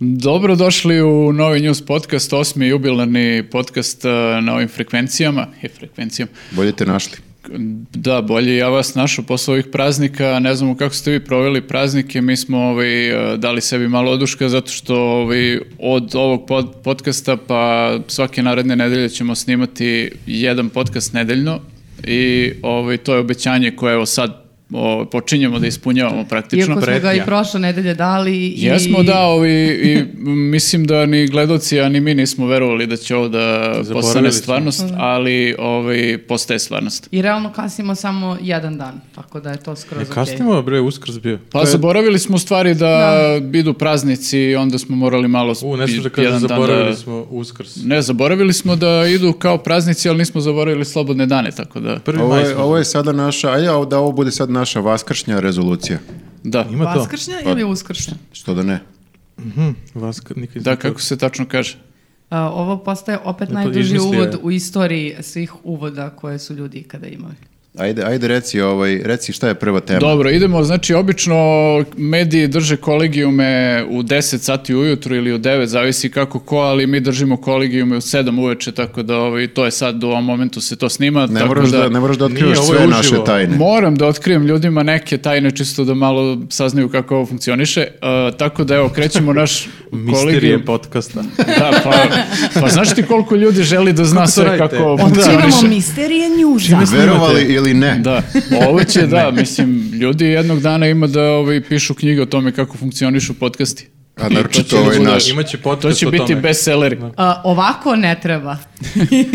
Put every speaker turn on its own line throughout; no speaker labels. Dobro došli u novi news podcast, osmi jubilarni podcast eh, na ovim frekvencijama. Je frekvencijom.
Bolje te našli.
Da, bolje ja vas našao posle ovih praznika, ne znamo kako ste vi proveli praznike, mi smo ovaj, eh, dali sebi malo oduška zato što ovaj, od ovog pod, podcasta pa svake naredne nedelje ćemo snimati jedan podcast nedeljno i ovaj, to je obećanje koje evo sad o, počinjemo da ispunjavamo praktično.
Iako smo ga i
pretnja.
prošle nedelje dali. I...
Jesmo, da, ovi, i mislim da ni gledoci, a ni mi nismo verovali da će ovo da postane
Zaboravili smo.
stvarnost, ali ovaj, postaje stvarnost.
I realno kasnimo samo jedan dan, tako da je to skroz
E,
okej.
kasnimo, bre, uskrs bio.
Pa
To je-
zaboravili smo u stvari da, idu praznici i onda smo morali malo...
U, nešto da
jedan
kažem,
dan
zaboravili
da-
smo uskrs.
Mm.
Ne, zaboravili smo da idu kao praznici, ali nismo zaboravili slobodne dane, tako da...
Prvi
Ovo
maj
je,
smo.
ovo je sada naša, a ja da ovo bude sad naša vaskršnja rezolucija.
Da,
Ima to? Pa- Mhm.
Vaskršnja ili uskršnja?
Što da ne?
Vaskr... Nikad
da
nisam
kako se tačno kaže.
A, E, ovo postaje opet
to
najduži
E, pa izmislio je.
uvod u istoriji svih uvoda koje su ljudi ikada imali.
Ajde, ajde reci, ovaj, reci šta je prva tema.
Dobro, idemo, znači obično mediji drže kolegijume u 10 sati ujutru ili u 9, zavisi kako ko, ali mi držimo kolegijume u 7 uveče, tako da ovaj, to je sad u ovom momentu se to snima.
Ne
tako
moraš da,
da,
ne moraš da
Nije,
otkrivaš
ovo je
sve
uživo.
naše tajne.
Moram da otkrijem ljudima neke tajne čisto da malo saznaju kako ovo funkcioniše. E, tako da evo, krećemo naš kolegijum.
Misterije podcasta.
Da, pa, pa znaš ti koliko ljudi želi da zna
Kako to
sve kako
radite?
ovo
Otkrivamo
funkcioniše?
misterije njuza.
Verovali ili ne?
Da, ovo će, da, mislim, ljudi jednog dana ima da ovaj, pišu knjige o tome kako funkcionišu podcasti.
A
To će
naročito ovaj
da-
naš.
Imaće
To
podcast
će
o
biti
tome.
bestselleri.
A, E, ovako ne treba.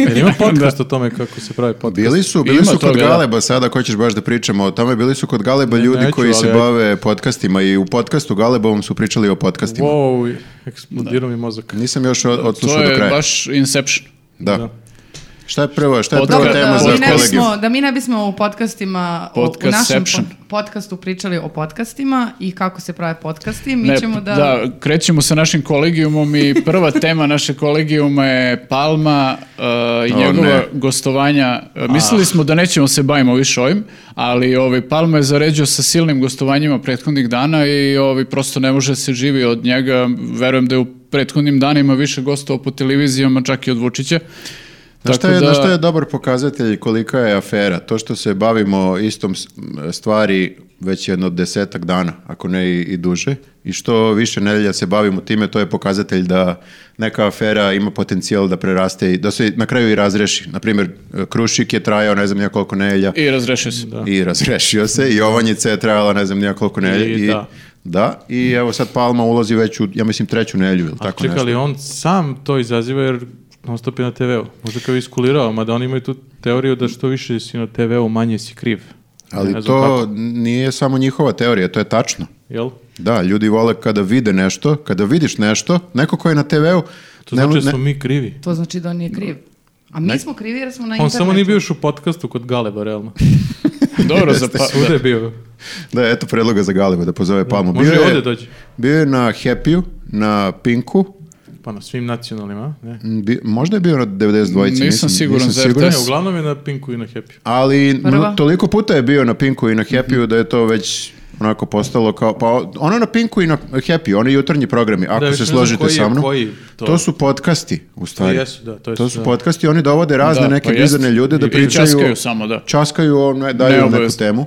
Jel ima podcast o tome kako se pravi podcast?
Bili su,
Ima
bili su kod
toga, da.
Galeba sada, ko ćeš baš da pričamo o tome, bili su kod Galeba ljudi
neću,
koji se
ali-
bave podcastima i u podcastu Galebovom su pričali o podcastima.
Wow, eksplodirao mi mozak.
Nisam još od-
To
odslušao do
je
kraja.
baš Inception.
Da.
Da.
Šta je prva, šta je
Podcast-
prva
Dobro,
tema
da,
za
mi ne
kolegiju?
bismo, da mi ne bismo u podcastima, o- u našem
Podcastception.
po- podcastu pričali o podcastima i kako se prave podcasti, mi
Ne,
ćemo da...
krećemo sa našim kolegijumom i prva tema naše kolegijuma je Palma uh, i
O,
njegova
ne. Ah.
gostovanja. Uh, Mislili smo da nećemo se bavimo više ovim, ali ovaj, Palma je zaređao sa silnim gostovanjima prethodnih dana i ovaj, prosto ne može da se živi od njega. Verujem da je u prethodnim danima više gostovao po televizijama, čak i od Vučića.
Znaš šta,
Tako
je,
da-
znaš šta je dobar pokazatelj kolika je afera? To što se bavimo istom s- m, stvari već jedno desetak dana, ako ne i, i duže, i što više nedelja se bavimo time, to je pokazatelj da neka afera ima potencijal da preraste i da se na kraju i razreši. Naprimjer, Krušik je trajao ne znam nija koliko nedelja
I razrešio se.
i razrešio se, i Ovanjica je trajala ne znam nija koliko nedelja.
I da.
da, i evo sad Palma ulazi već u, ja mislim, treću nedelju ili tako nešto.
Čekali, on sam to izaziva jer non stop je na TV-u. Možda kao iskulirao, mada oni imaju tu teoriju da što više si na TV-u, manje si kriv. Ne
Ali
znam
to
kako,
nije samo njihova teorija, to je tačno.
Jel?
Da, ljudi vole kada vide nešto, kada vidiš nešto, neko ko je na TV-u,
To
ne-
znači da
ne-
smo mi krivi.
To znači da on nije kriv. A mi smo krivi jer smo na
On
internetu.
samo nije bio još u podcastu kod Galeba, realno.
Dobro, za Pa-
Svuda je bio.
da, eto predloga za Galeba da pozove Palmu.
Može
Pa Bio
i
je-
ovde dođe.
Bio je na Happy-u, na Pinku,
Pa na svim nacionalnim, a? Ne.
m, bi- možda je bio na 92-ici,
Nisam
nisam,
siguran
nisam
za
Ne,
RTS.
uglavnom je na Pinku i na Happy.
Ali m,
Prva.
toliko puta je bio na Pinku i na Happy-u da je to već onako postalo kao, pa ono na Pinku i na Happy, oni jutarnji programi, ako
više
se
ne znam
složite
koji je
sa mnom.
koji to.
su podcasti, u stvari.
To jesu, da, to jesu,
su
da.
podcasti, oni dovode razne
Da,
neke
pa jest.
bizarne ljude da
I- i
pričaju.
časkaju samo, da.
Časkaju, on, ne, daju neku
Neobavezno.
temu.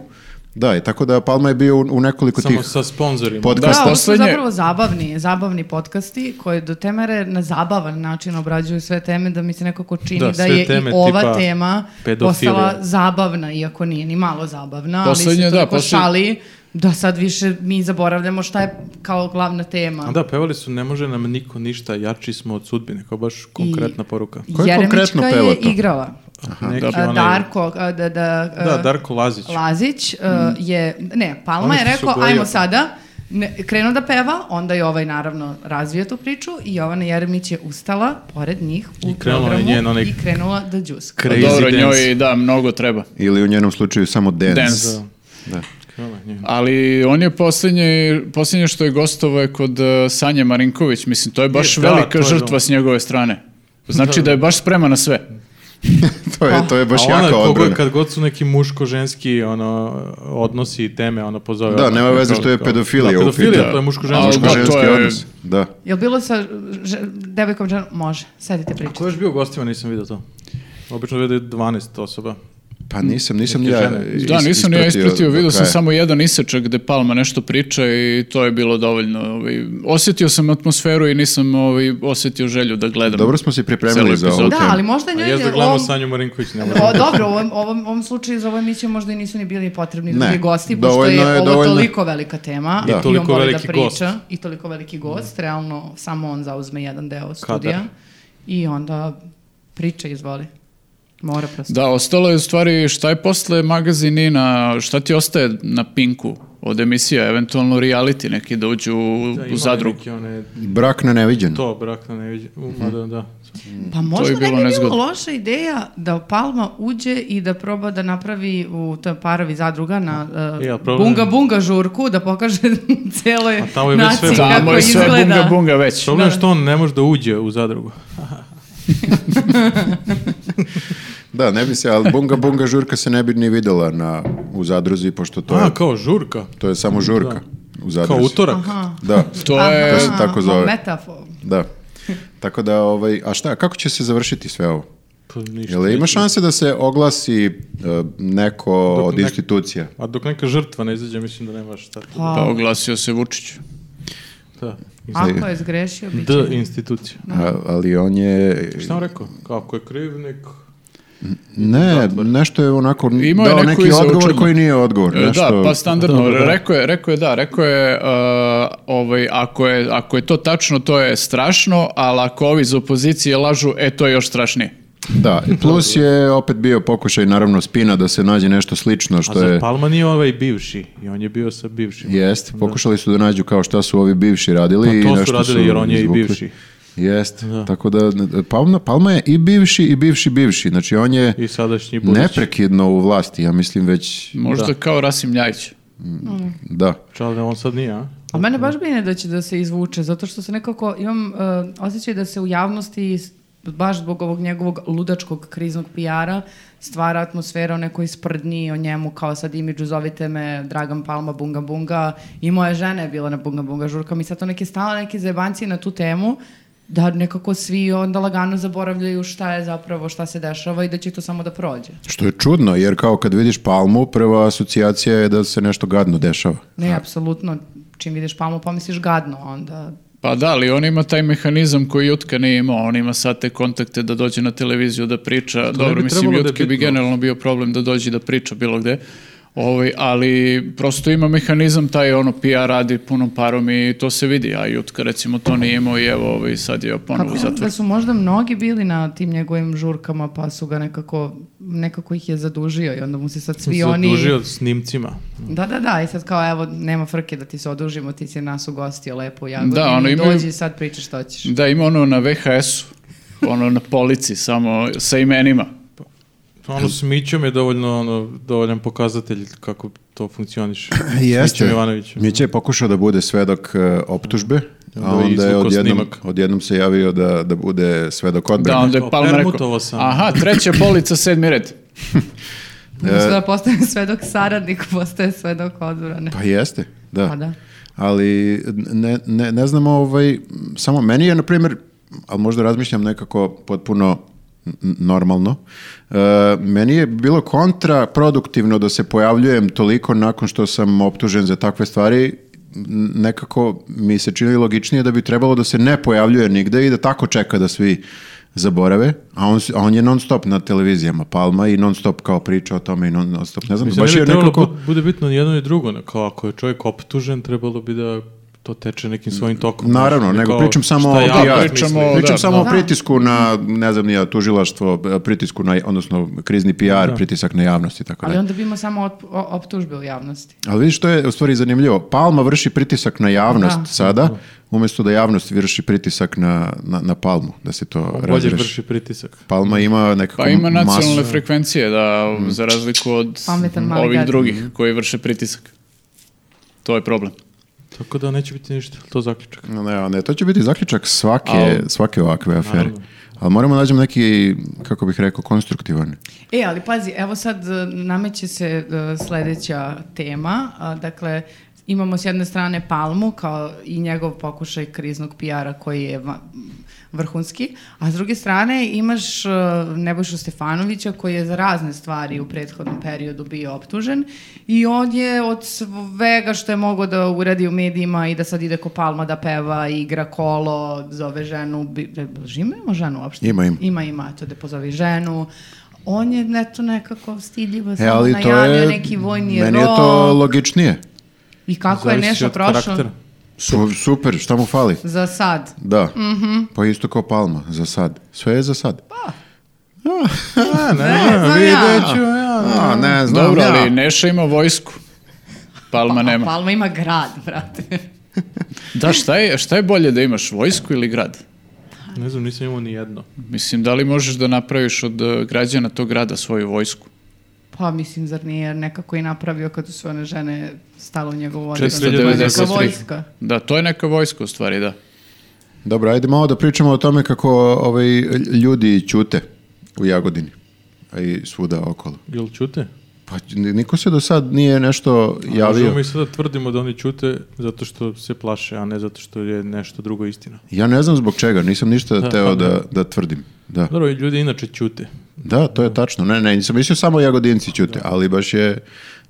Da, i tako da Palma je bio u, u nekoliko
Samo
tih
sa sponzorima.
Da,
Da,
podcasta.
ovo su
poslednje-
zapravo zabavni, zabavni podcasti koji do temere na zabavan način obrađuju sve teme da mi se nekako čini da,
Da, sve
je
teme
i ova
tipa
tema
pedofilija.
postala zabavna, iako nije ni malo zabavna,
Poslednje, da,
ali se toliko
posle-
šali da sad više mi zaboravljamo šta je kao glavna tema.
A da, pevali su ne može nam niko ništa, jači smo od sudbine, kao baš konkretna poruka.
I
Ko je
Jeremićka
konkretno peva
je
to?
igrala.
Neki
A,
onaj-
Darko, a, da, da, a,
Da,
e,
Darko Lazić.
Lazić uh, je, ne, Palma
Mm. Oni
je
su se
rekao,
ogojili
ajmo
oko."
sada, ne, krenuo da peva, onda je ovaj naravno razvio tu priču i Jovana Jeremić je ustala pored njih u
I krenula je
programu
njen onaj-
i krenula da džuska.
Pa
Crazy
Dobro,
dance.
njoj da, mnogo treba.
Ili u njenom slučaju samo dance.
Dance.
Da.
Krala je njena.
Ali on je posljednje, posljednje što je gostovo je kod eh, Sanje Marinković. Mislim, to je baš
E, da,
velika
to je
žrtva
ono.
s njegove strane. Znači da je baš spreman na sve.
to, je, to je baš
A ona,
jaka
kako je,
odbrana.
Kad god su neki muško-ženski ono, odnosi i teme, ono pozove.
Da,
ono,
nema veze
kao-
što je
kao-
pedofilija
Da,
u
pedofilija,
pitanju.
to je
Ali da,
muško-ženski.
Muško-ženski
to je-
odnos. Da.
Jel bilo sa že, devojkom ženom? Može, sedite
Ko
pričati.
je još bio u gostima, nisam vidio to. Obično vede 12 osoba.
Pa nisam, nisam
Neke
ja
žene.
is-
Da, nisam ni ja ispratio,
do
vidio sam
kraja.
samo jedan isečak gde Palma nešto priča i to je bilo dovoljno. Ovaj, osjetio sam atmosferu i nisam ovaj, osjetio želju da gledam.
Dobro smo se pripremili
Celu
za ovu
epizodu.
Da,
temu.
ali možda
A
njoj...
jezda
je
Pa gledamo
ovom-
Sanju Marinković, ne
O, Pa dobro, u ovom, ovom, ovom slučaju za ovo emisiju možda i nisu ni bili potrebni
Ne,
drugi gosti, pošto je,
dovoljno je-
ovo
dovoljno-
toliko velika tema
Da.
i,
I toliko
on voli
veliki
da priča
gost.
i toliko veliki gost, realno samo on zauzme jedan deo studija i onda priča izvoli. Mora prosto.
Da, ostalo je u stvari šta je posle magazinina, šta ti ostaje na pinku od emisija, eventualno reality neki da uđu u,
Da,
u
ima
zadrugu.
neki one-
Brak na neviđen.
To, brak na ne vidi. U,
Mhm.
mada, da.
Pa možda ne
bilo
bi
nezgodno.
bila loša ideja da Palma uđe i da proba da napravi u toj parovi zadruga na eh,
E, a problem-
bunga bunga žurku, da pokaže celoj
A tamo je već
naciji
sve bunga.
Tamo
kako
je sve
izgleda.
bunga bunga već.
Problem je
Da.
što on ne može da uđe u zadrugu.
Da, ne bi se, ali bunga bunga žurka se ne bi ni videla na, u zadruzi, pošto to,
A,
je,
kao žurka.
to je samo žurka u zadruzi.
Kao utorak.
Aha.
Da,
To
Aha,
je...
To se tako zove.
Metafor.
da. Tako da, ovaj, a šta, kako će se završiti sve ovo?
Pa ništa.
Jel ima šanse da se oglasi e, neko
Dok
od
nek-
institucija?
A dok neka žrtva ne izađe, mislim da nema šta.
Pa,
Pa oglasio se Vučić.
Da.
ako je zgrešio, bit će.
D institucija.
Mhm.
A- ali on je...
Šta on rekao? Kao ako je kriv, nek...
Ne, nešto je onako
Imao je
dao
neku
neki
iza
odgovor
očima.
koji nije odgovor.
E,
Nešto...
Da, pa standardno.
Dobro, da.
Rekao je, rekao je da, rekao je, uh, ovaj, ako je ako je to tačno, to je strašno, ali ako ovi iz opozicije lažu, e to je još strašnije.
Da, i plus je opet bio pokušaj naravno spina da se nađe nešto slično
A
što
zar
je...
Palma nije ovaj bivši? I on je bio sa bivšim.
Jest, pokušali su da nađu kao šta su ovi bivši radili.
Pa
i
to su
nešto
radili jer on je i
izvukli.
bivši.
Jest, tako da Palma, Palma je i bivši i bivši bivši. Znači on je
I sadašnji budući.
neprekidno u vlasti, ja mislim već,
Možda kao Rasim Ljajić.
Mm.
da.
Čao da on sad nije, a?
A mene baš brine da će da se izvuče, zato što se nekako, imam e, osjećaj da se u javnosti, s- baš zbog ovog njegovog ludačkog kriznog PR-a, stvara atmosfera o nekoj sprdnji, o njemu kao sad imidžu, zovite me Dragan Palma Bunga Bunga, i moja žena je bila na Bunga Bunga žurkama i sad to neke stala neke zajebancije na tu temu, da nekako svi onda lagano zaboravljaju šta je zapravo, šta se dešava i da će to samo da prođe.
Što je čudno, jer kao kad vidiš Palmu, prva asocijacija je da se nešto gadno dešava.
Ne, apsolutno, čim vidiš palmu pomisliš gadno, a onda
Pa da, ali on ima taj mehanizam koji Jutka nije imao. On ima sad te kontakte da dođe na televiziju da priča.
bi
Dobro, mislim,
trebalo da je
Jutke bi
bitno.
generalno bio problem da dođe da priča bilo gde. Ovaj, ali prosto ima mehanizam taj ono PR radi punom parom i to se vidi, a Jutka recimo to nije imao i evo ovaj, sad je ponovo
Kako
u
da
zatvoru.
su možda mnogi bili na tim njegovim žurkama, pa su ga nekako, nekako ih je zadužio i onda mu se sad svi oni...
Zadužio snimcima.
Da, da, da, i sad kao evo, nema frke da ti se odužimo, ti si nas ugostio lepo u Jagodini,
Da, ono, imaju-
dođi i sad pričaš što ćeš.
Da, ima ono na VHS-u, ono na polici, samo sa imenima.
Ono s Mićom je dovoljno, ono, dovoljan pokazatelj kako to funkcioniše. S Mićom Jovanovićem.
Mića je pokušao da bude svedok e, optužbe, a
Onda je
onda je
izvukao
odjednom,
snimak.
odjednom se javio da, da bude svedok
Da,
odbrane.
onda je
Kao
Palma rekao,
permutovao sam.
aha, treća polica, sedmi red.
Umesto da postane svedok saradnik, postaje svedok odbrane.
Pa jeste, da.
Pa da.
Ali ne, ne, ne znam, ovaj, samo meni je, na primjer, ali možda razmišljam nekako potpuno n- n- normalno, e, meni je bilo kontraproduktivno da se pojavljujem toliko nakon što sam optužen za takve stvari, N- nekako mi se čini logičnije da bi trebalo da se ne pojavljuje nigde i da tako čeka da svi zaborave, a on, s- a on je non stop na televizijama Palma i non stop kao priča o tome i non stop, ne znam,
Mislim,
baš
ne
je
bi trebalo
nekako...
bu- bude bitno ni jedno i drugo. ne, Kao ako je čovjek optužen, trebalo bi da to teče nekim svojim tokom.
Naravno,
Kao,
nego pričam samo
šta
o
javnost
PR.
misli.
Pričamo o-
Pričam
da,
samo o
da.
pritisku na, ne znam nija, tužilaštvo, e, pritisku na, odnosno krizni PR, pritisak na javnost i tako
Ali
dalje.
onda bi imao samo otp- o- optužbe u javnosti.
Ali vidiš što je u stvari zanimljivo. Palma vrši pritisak na javnost
Da.
sada, umjesto da javnost vrši pritisak na, na, na Palmu, da se to
Bolje
razreši.
vrši pritisak.
Palma ima nekako
Pa ima nacionalne
masu. Mm.
frekvencije, da, za razliku od
Pametan mali
ovih
gadget.
drugih koji vrše pritisak. To je problem.
Tako da neće biti ništa, to je zaključak.
Ne, ne, to će biti zaključak svake,
Al-
svake ovakve afere.
Naravno.
Ali moramo nađemo neki, kako bih rekao, konstruktivan.
E, ali pazi, evo sad e, nameće se e, sledeća tema. A, dakle, imamo s jedne strane Palmu kao i njegov pokušaj kriznog PR-a koji je va- vrhunski, a s druge strane imaš e, Nebojšu Stefanovića koji je za razne stvari u prethodnom periodu bio optužen i on je od svega što je mogao da uradi u medijima i da sad ide ko Palma da peva, igra kolo, zove ženu, bi, e, žime ima ženu uopšte?
Ima, ima.
Ima, ima, to da pozovi ženu. On je neto nekako stidljivo
E,
samo
ali to
najavio
je...
neki vojni
meni
rol.
je to logičnije.
I kako je
Zavisi
nešto
od
prošao?
karaktera.
Su- super, šta mu fali?
Za sad.
Da.
Mhm.
Pa isto kao Palma, za sad. Sve je za sad.
Pa,
A, ne,
znam
vidjet
ja.
ću, ja.
A, ne, znam
Dobro,
ja.
ali Neša ima vojsku. Palma
A
nema.
Pa, Palma ima grad, brate. pa.
Da, šta je, šta je bolje da imaš, vojsku ili grad?
Ne znam, nisam imao ni jedno.
Mislim, da li možeš da napraviš od e, građana tog grada svoju vojsku?
Pa mislim, zar nije nekako i napravio kad su sve one žene stalo u njegovu odbranu?
493.
Neka vojska.
Da, to je neka vojska u stvari, da.
Dobro, ajde malo da pričamo o tome kako ovaj, ljudi ćute u Jagodini a i svuda okolo.
Jel čute?
Pa niko se do sad nije nešto
Možemo
javio.
mi sada tvrdimo da oni čute zato što se plaše, a ne zato što je nešto drugo istina.
Ja ne znam zbog čega, nisam ništa
Da,
teo
pa
da, da tvrdim. Da.
Dobro, i ljudi inače čute.
da, to je tačno. Ne, ne, nisam mislio samo Jagodinci ćute, ali baš je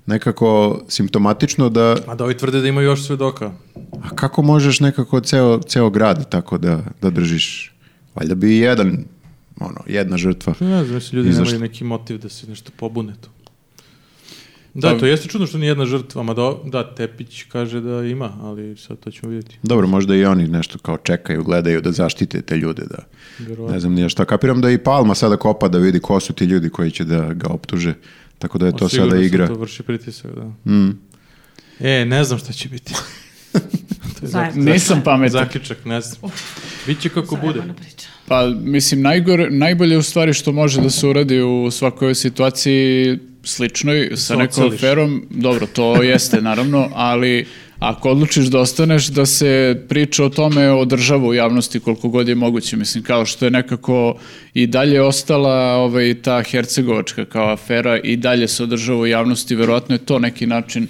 nekako simptomatično da
A da ovi tvrde da imaju još svedoka.
a kako možeš nekako ceo, ceo grad tako da, da držiš? Valjda bi i jedan, ono, jedna žrtva.
Ne znam, mislim, ljudi
Izašli.
nemaju neki motiv da se nešto pobune tu. Da,
Pa-
to jeste čudno što nijedna žrtva, ma da, da, Tepić kaže da ima, ali sad to ćemo vidjeti.
Dobro, možda i oni nešto kao čekaju, gledaju da zaštite te ljude, da
Vjerovatno.
ne znam nije šta. Kapiram da i Palma sada kopa da vidi ko su ti ljudi koji će da ga optuže, tako da je
Ma,
to
sigurno
sada
sad
igra. Mm.
To vrši pritisak, da. E, ne znam šta će biti. to je
Zajebana
Nisam pametan.
zaključak, ne znam. Biće kako bude.
priča.
Pa, mislim, najgore, najbolje u stvari što može da se uradi u svakoj situaciji sličnoj sa
Da se
nekom
odseliš.
aferom, dobro, to jeste naravno, ali ako odlučiš da ostaneš, da se priča o tome održava u javnosti koliko god je moguće, mislim, kao što je nekako i dalje ostala ovaj, ta hercegovačka kao afera i dalje se održava u javnosti, verovatno je to neki način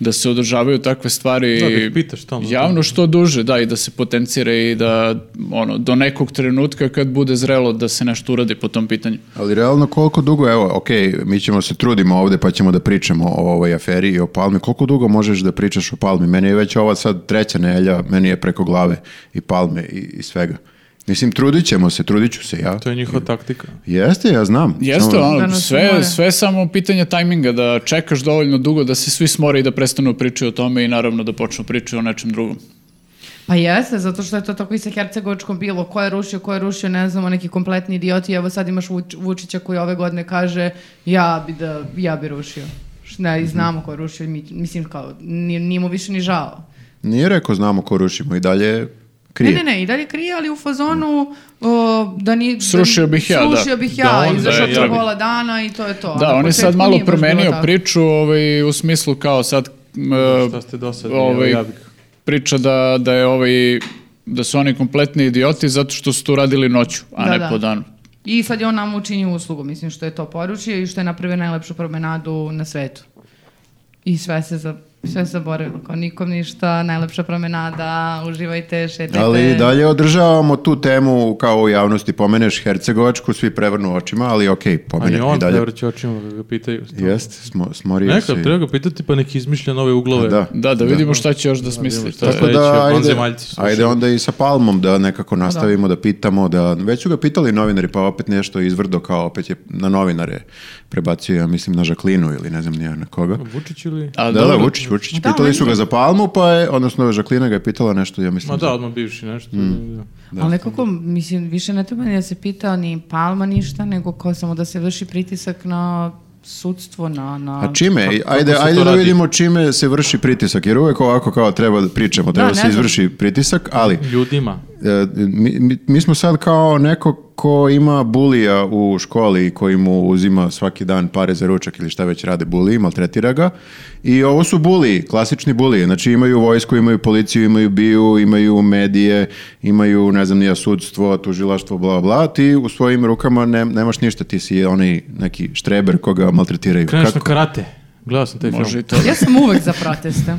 da se održavaju takve stvari
Da, da ih pitaš stalno.
javno što duže, da, i da se potencira i da, ono, do nekog trenutka kad bude zrelo da se nešto uradi po tom pitanju.
Ali realno koliko dugo, evo, ok, mi ćemo se trudimo ovde pa ćemo da pričamo o ovoj aferi i o Palmi. Koliko dugo možeš da pričaš o Palmi? Meni je već ova sad treća nelja, meni je preko glave i Palme i, i svega. Mislim, trudit ćemo se, trudit ću se ja.
To je njihova taktika.
Jeste, ja znam.
Jeste,
Samo-
ono,
nas
sve,
umore.
sve je samo pitanje tajminga, da čekaš dovoljno dugo da se svi smore i da prestanu pričaju o tome i naravno da počnu pričaju o nečem drugom.
Pa jeste, zato što je to tako i sa Hercegovačkom bilo. Ko je rušio, ko je rušio, ne znamo, neki kompletni idioti. Evo sad imaš Vuč- Vučića koji ove godine kaže ja bi, da, ja bi rušio. Š- Ne,
Mhm.
i znamo ko je rušio, mi- mislim kao, nije, nije mu više ni žao.
Nije rekao znamo ko rušimo i dalje krije.
Ne, ne, ne, i dalje krije, ali u fazonu o, da ni... da-
Srušio bih ja, da.
Srušio bih ja,
Da, on-
izašao
da,
to
ja bi.
gola dana i to je to. A
Da,
Ono, na
on je sad
početku
malo
nije baš bilo
promenio
tako.
priču ovaj, u smislu kao sad... m,
E,
Šta ste do sad?
ovaj,
ja bih.
priča da, da je ovaj da su oni kompletni idioti zato što su to radili noću, a
Da,
ne
da.
po danu.
I sad je on nam učinio uslugu, mislim, što je to poručio i što je napravio najlepšu promenadu na svetu. I sve se za, sve se zaboravilo, kao nikom ništa, najlepša promenada, uživajte, šetajte.
Ali i dalje održavamo tu temu kao u javnosti pomeneš Hercegovačku, svi prevrnu očima, ali okej,
Ali
pomene pa i
on
dalje.
prevrće očima kad ga pitaju.
Jeste, smo, smorio
Neka,
se.
treba ga pitati pa nek izmišlja nove uglove.
Da.
Da, da vidimo šta će još da smisli.
vidimo
to
šta
je-
Tako da,
Sledeće,
ajde,
vanzemaljci slušaju.
ajde onda i sa Palmom da nekako nastavimo da. pitamo, da već su ga pitali novinari, pa opet nešto izvrdo kao opet je na novinare prebacio, ja mislim na Žaklinu ili ne znam nije na koga.
Vučić ili...
A,
da,
dobro.
da, Vučić, Vučić.
Da,
pitali
meni
su ga
to-
za Palmu, pa je, odnosno Žaklina ga je pitala nešto, ja mislim.
Ma
za-
da, odmah bivši nešto.
Mm.
Da.
Ali nekako, mislim, više ne treba ni da se pita ni Palma ništa, nego kao samo da se vrši pritisak na sudstvo, na... na...
A čime? I- Ajde,
kako se
ajde
to
da
radi?
vidimo čime se vrši pritisak, jer uvek ovako kao treba da pričamo, treba
ne
da se
znam.
izvrši pritisak, ali
Ljudima.
e, mi, mi- mi smo sad kao neko ko ima bulija u školi i koji mu uzima svaki dan pare za ručak ili šta već rade buliji, maltretira ga. I ovo su buliji, klasični buliji. Znači imaju vojsku, imaju policiju, imaju biju, imaju medije, imaju, ne znam, nija sudstvo, tužilaštvo, bla, bla. Ti u svojim rukama ne, nemaš ništa, ti si onaj neki štreber koga maltretiraju.
Kreneš na karate. Gledao sam taj
Može i
film.
to.
Ja sam uvek za proteste.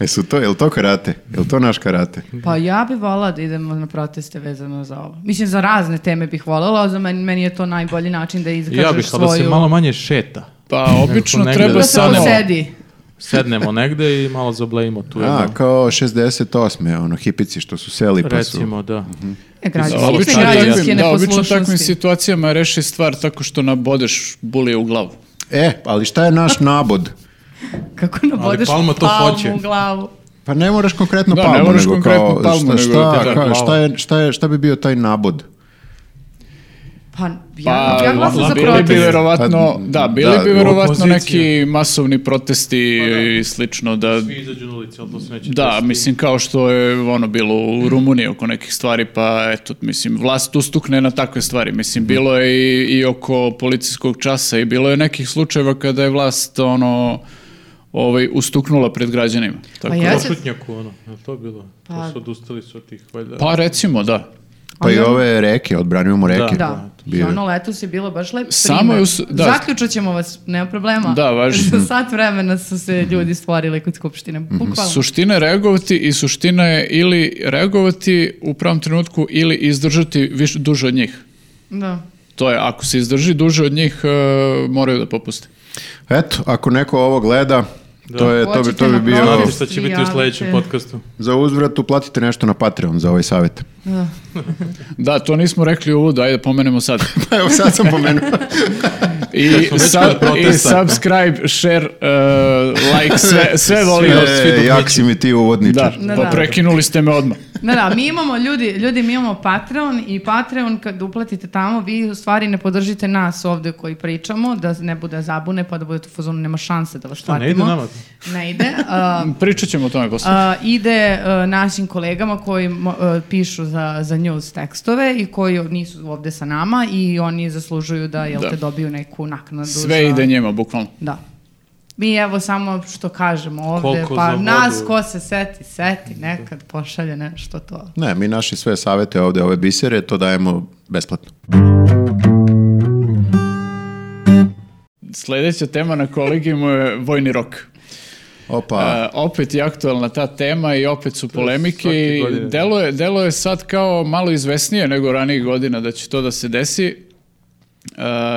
E su to, je li to karate? Je li to naš karate?
Pa ja bih volala da idemo na proteste vezano za ovo. Mislim, za razne teme bih volala, ali za meni, meni je to najbolji način da izkažeš
Ja bih, ali
svoju...
da se malo manje šeta.
Pa obično
negde
treba
Da
da
se
sad...
posedi.
Sednemo negde i malo zablejimo tu.
A,
jednu-
kao 68. ono, hipici što su seli pa su...
Recimo, da.
E, građanske,
Da, obično,
građanske
takvim, da, obično takvim
neposlušnosti.
situacijama reši stvar tako što nabodeš bulije u glavu.
E, ali šta je naš nabod?
Kako nabodeš
Palma to
palmu
hoće.
u glavu.
Pa ne moraš konkretno
Da, ne
palmu,
moraš
nego
konkretno
kao,
palmu,
šta,
nego
šta,
ti da,
ka-
glava.
šta, je, šta, je, šta bi bio taj nabod?
Pa, ja,
Pa,
ja glasam za
bili bi
proteste.
verovatno,
Pa,
da, bili
da,
bi verovatno
opozicija.
neki masovni protesti
Pa,
i slično da
Svi izađu na ulici, ali to se neće
Da,
desiti.
mislim kao što je ono bilo
Mhm.
u Rumuniji oko nekih stvari, pa eto, mislim, vlast ustukne na takve stvari. Mislim, bilo je i, i oko policijskog časa i bilo je nekih slučajeva kada je vlast ono, ovaj, ustuknula pred građanima. Tako
Pa
da-
ja
Ja
se-
ono, je to bilo?
Pa-
To su odustali su od tih, valjda.
Pa recimo, da.
Pa i ove reke, odbranimo mu reke.
Da, i
Bio je.
ono letos je bilo baš lep
Samo
primer.
je us- da.
Zaključat ćemo vas, nema problema.
Da, važi.
Za sat vremena su se ljudi stvorili kod skupštine. Bukvalno.
Suština je reagovati i suština je ili reagovati u pravom trenutku ili izdržati više, duže od njih.
Da.
To je, ako se izdrži duže od njih, e, moraju da popuste.
Eto, ako neko ovo gleda,
Da.
to, je, to, bi, to
Hoćete
bi
na
bio...
protest?
Znate šta će biti u sledećem
Prijavite.
podcastu?
Za uzvrat uplatite nešto na Patreon za ovaj savjet.
da.
Da, to nismo rekli u uvodu, ajde pomenemo sad.
Pa evo sad sam pomenuo.
I,
već
sub-
kod protesta.
i subscribe, share, uh, like, sve, sve volimo.
e, jak si mi ti
Da,
uvodničar.
Da,
pa
da.
prekinuli ste me odmah.
Da, da, mi imamo ljudi, ljudi, mi imamo Patreon i Patreon kad uplatite tamo, vi u stvari ne podržite nas ovde koji pričamo, da ne bude zabune, pa da budete u fazonu, nema šanse da vas
Šta, ne ide
platimo.
nama?
Ne ide. a,
Pričat ćemo o tome posle.
a, ide a, našim kolegama koji mo- a, pišu za, za news tekstove i koji nisu ovde sa nama i oni zaslužuju da, jel
Da.
te, dobiju neku naknadu. za-
Sve ide njima, bukvalno.
Da. Mi evo samo što kažemo ovde,
Koliko za
pa
vodu?
nas ko se seti, seti, nekad pošalje nešto to.
Ne, mi naši sve savete ovde, ove bisere, to dajemo besplatno.
Sljedeća tema na kolegijumu je vojni rok.
Opa,
Pa.
E, opet je aktualna ta tema i opet su polemike
svake
i
godine.
delo je, delo je sad kao malo izvesnije nego ranijih godina da će to da se desi. E,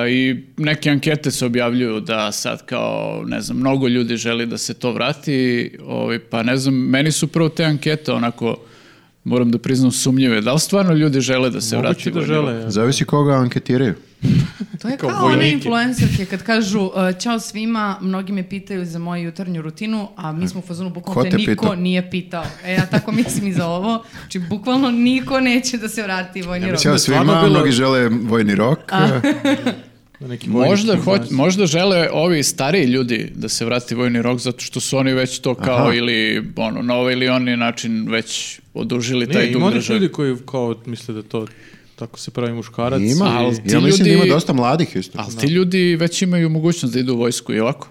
I neke ankete se objavljuju da sad kao, ne znam, mnogo ljudi želi da se to vrati, ovaj, pa ne znam, meni su prvo te ankete onako, moram da priznam, sumnjive. Da li stvarno ljudi žele da se
Moguće
vrati?
da
vojni rok?
žele.
zavisi koga anketiraju.
To je
Kao
kao, one
vojnike.
influencerke kad kažu uh, ćao svima, mnogi me pitaju za moju jutarnju rutinu, a mi smo u fazonu
Ko
bukvalno
te
te niko
pitao?
nije pitao. E, ja tako mislim i za ovo. Znači, bukvalno niko neće da se vrati vojni rok.
mislim-
Ćao
je stvarno
svima,
bilo-
mnogi žele vojni rok.
Da neki vojnik
Možda,
ima
hoć-
nas.
možda žele ovi stariji ljudi da se vrati vojni rok zato što su oni već to kao
Aha.
ili ono, na ovaj ili onaj način već odužili taj
Nije, ima
dug
onih
države.
ljudi koji kao misle da to tako se pravi muškarac.
Ima,
i-
ali ti
ja mislim da
ljudi-
ima dosta mladih isto.
Ali ti ljudi već imaju mogućnost da idu u vojsku i ovako.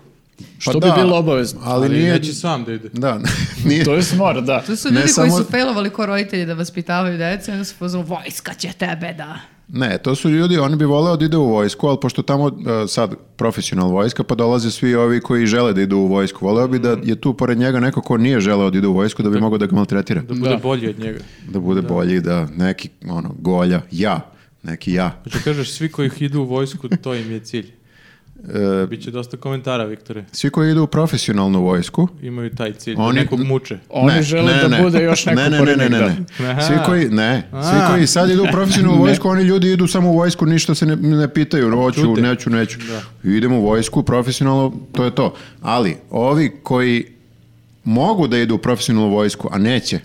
Što
Pa
bi
da,
bilo obavezno.
Ali,
ali
nije...
neće sam da ide.
Da, nije...
To je smor, da.
To su
Ne
ljudi koji
samo-
su failovali ko roditelji da vaspitavaju decu i onda su u fazonu vojska će tebe da...
Ne, to su ljudi, oni bi voleo da ide u vojsku, ali pošto tamo e, sad profesional vojska, pa dolaze svi ovi koji žele da idu u vojsku. Voleo bi da je tu pored njega neko ko nije želeo da ide u vojsku, da bi mogao da ga maltretira.
Da bude
Da.
bolji od njega.
Da bude bolji, da neki, ono, golja, ja, neki ja.
Znači kažeš, svi koji idu u vojsku, to im je cilj.
E,
Biće dosta komentara, Viktore.
svi koji idu u profesionalnu vojsku,
Imaju taj cilj,
Oni-
da nekog muče.
Oni
Ne,
žele
ne,
da
ne.
bude još neko
ne, ne, ne,
pored
ne,
njih,
ne,
da.
ne.
Aha.
Svi koji, ne, svi
A.
koji sad idu u profesionalnu vojsku, oni ljudi idu samo u vojsku, ništa se ne, ne pitaju,
Pa
hoću,
Ćute.
neću, neću. Idemo u vojsku, profesionalno, to je to. Ali, ovi koji mogu da idu u profesionalnu vojsku, a neće,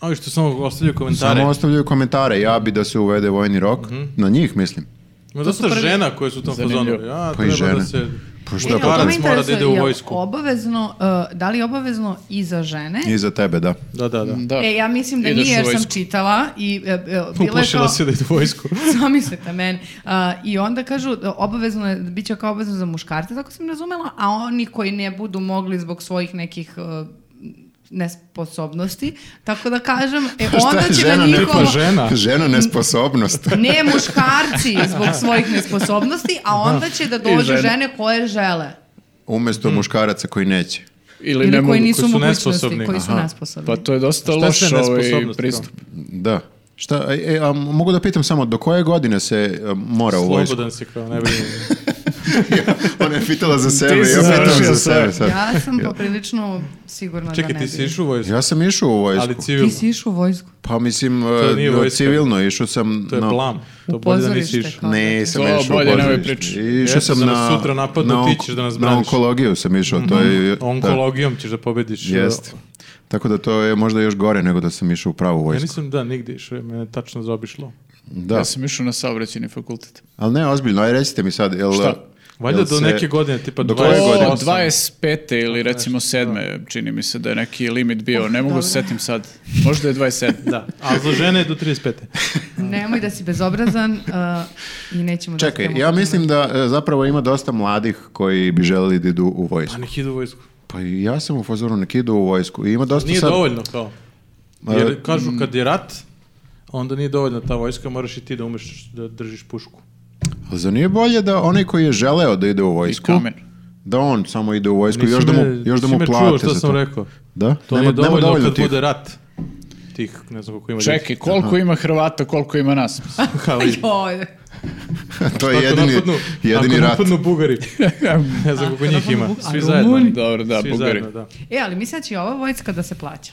Ovi što samo ostavljaju komentare.
samo ostavljaju komentare, ja bi da se uvede
Mhm.
vojni rok, na njih mislim.
Ima dosta
prvi-
žena koje su u tom fazonu.
Zanimljivo.
Ja,
Pa i
treba
žene.
da se...
Pa šta
Vidite,
pa
to
da?
me
Mora da
interesuje,
ide u
jel
vojsku.
Obavezno, uh, da li je obavezno i za žene?
I za tebe, da.
Da, da, da.
Da.
E, ja mislim da
Ideš u
nije jer sam
vojsku.
čitala i e, e, bilo je
Uplašila
kao...
se da ide u vojsku.
Zamislite men. A, I onda kažu, da obavezno je, bit će kao obavezno za muškarce, tako sam razumela, a oni koji ne budu mogli zbog svojih nekih e, nesposobnosti, tako da kažem, e, onda
Pa je
će na
ne-
njihovo...
Pa žena.
Žena nesposobnost.
Ne muškarci zbog svojih nesposobnosti, a onda će da dođu
žene.
žene. koje žele.
Umjesto
Mhm.
muškaraca koji neće.
Ili,
Ili,
ne
koji
mogu.
nisu
koji su
mogućnosti,
nesposobni.
koji su
Aha.
nesposobni.
Pa to je dosta
Šta je
loš
sve
ovaj
nesposobnost,
pristup.
Da. Šta, e, e, a mogu da pitam samo, do koje godine se e, mora u vojsku?
Slobodan si kao, ne brini.
Ona je pitala za sebe,
si
ja pitam
završio
za sebe. sad.
Ja sam poprilično sigurna da
Čekaj,
ne
ti
bi.
si išao u vojsku,
Ja sam išao u vojsku.
ali
Ti
civilno.
si išao u vojsku.
Pa mislim, e,
nije
no,
vojska.
civilno, išao sam...
To je
na-
blam. To bolje da nisi
Pozorište
išao.
kao da.
Nisam
To
išao u
bolje nemoj
pozorište.
pričati.
Išao
Jeste
sam
da
na...
nas sutra napadnu,
na
ti
onko-
ćeš da nas Mhm.
Na
braniš.
onkologiju sam išao, to je... da,
Onkologijom ćeš da pobediš.
Jeste. Tako da to je možda još gore nego da sam išao u pravu
Ja
vojsku.
nisam, da, nigde išao, mene je tačno zaobišlo.
Da,
Ja sam išao na saobraćajni fakultet.
ali ne, ozbiljno, aj recite mi sad, jel...
Šta?
Valjda
jel
do
se-
neke godine, tipa
Do koje
O,
28.
godine?
25. ili recimo 7. čini mi se da je neki limit bio. Ne mogu se setim sad. Možda je 27.
Da, a za žene je do 35.
Nemoj da si bezobrazan uh, i nećemo
Čekaj,
da
ja mislim da e, zapravo ima dosta mladih koji bi želeli da idu u
Pa
vojsku.
nek idu u vojsku.
Pa i ja sam u fazoru nek idu u vojsku. I ima dosta
Nije
sad...
dovoljno kao.
Ma, mm.
Jer kažu kad je rat, onda nije dovoljna ta vojska, moraš i ti da umeš da držiš pušku.
Ali Pa zar nije bolje da onaj koji je želeo da ide u
I
vojsku,
kamen.
da on samo ide u vojsku,
Nisi
još da mu,
me-
još da
nisi
mu
me čuo
plate
šta
za
sam
to.
rekao.
Da?
To
nema,
nije dovoljno,
nema dovoljno
kad
tih.
bude rat. Tih, ne znam koliko ima
Čekaj, koliko ima Hrvata, koliko ima nas?
Čekaj,
Joj,
to je jedini, jedini
ako
rat.
napadnu Bugari. ne znam koliko njih ima.
Bugari.
Svi
A
zajedno.
Rumuni?
Dobro, da,
Svi
Bugari.
zajedno, da.
E, ali mislim da će i ova vojska da se plaća.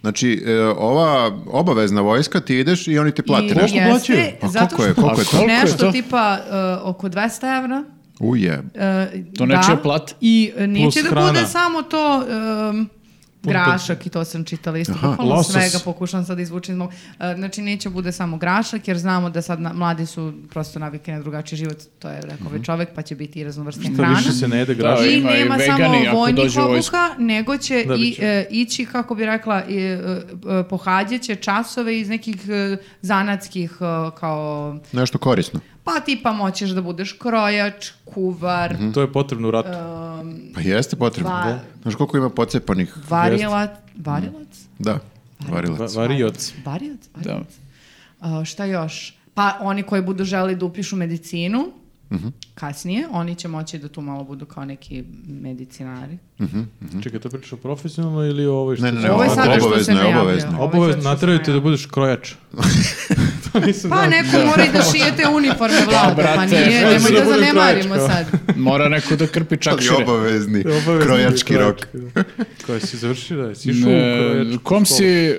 Znači, e, ova obavezna vojska, ti ideš i oni ti plate
I
nešto.
jeste,
plaćaju?
A
zato
koliko je,
što
koliko je to?
Koliko je
nešto
to?
tipa uh, oko 200 evra.
Ujeb.
Uh,
To
da,
nečija plata?
I uh, neće
Plus
da bude
hrana.
samo to um, grašak i to sam čitala isto.
Aha,
bukvalno
losos.
svega pokušam sad da izvučem. iz mog- uh, znači neće bude samo grašak jer znamo da sad na- mladi su prosto navikli na drugačiji život. To je rekao ovaj čovek pa će biti i raznovrstna
Što
hrana.
više se ne jede
Mhm. Da,
graš.
I
ima i
nema
vegani ako
samo vojnih
dođu u vojsku.
obuka, nego će
Da,
i,
bit će.
e, ići, kako bi rekla, i, e, e, pohađat će časove iz nekih e, zanatskih e, kao...
Nešto korisno.
Pa tipa moćeš da budeš krojač, kuvar,
To je potrebno u
E,
ratu.
Pa jeste potrebno.
Va-
Da. Znaš koliko ima pocepanih?
varilac, varilac?
Da, varilac.
Va- varioc.
Varilac?
Da.
varilac. A, šta još? Pa oni koji budu želi da upišu medicinu,
Mhm.
kasnije, oni će moći da tu malo budu kao neki medicinari.
Čekaj, to pričaš o profesionalno ili o ovoj što...
Ne, ne, ne,
Ovo je
ovo-
sada što se
obavezno je,
najavljuje.
obavezno.
Ovo je sad što
Obavezno,
se
natraju te da
najavljuje.
budeš krojač. to nisam
Pa
znao.
neko mora i da šijete uniforme vlada, pa
brate,
nije,
hoće
nemoj
da
da
bude
zanemarimo
krojačka.
sad.
Mora neko da krpi
Ali
čakšire.
obavezni,
Obavezno
krojački
je
rok.
da. Koja si završila, jesi išao u
Ne,
krojačku
E, kom
školu?
si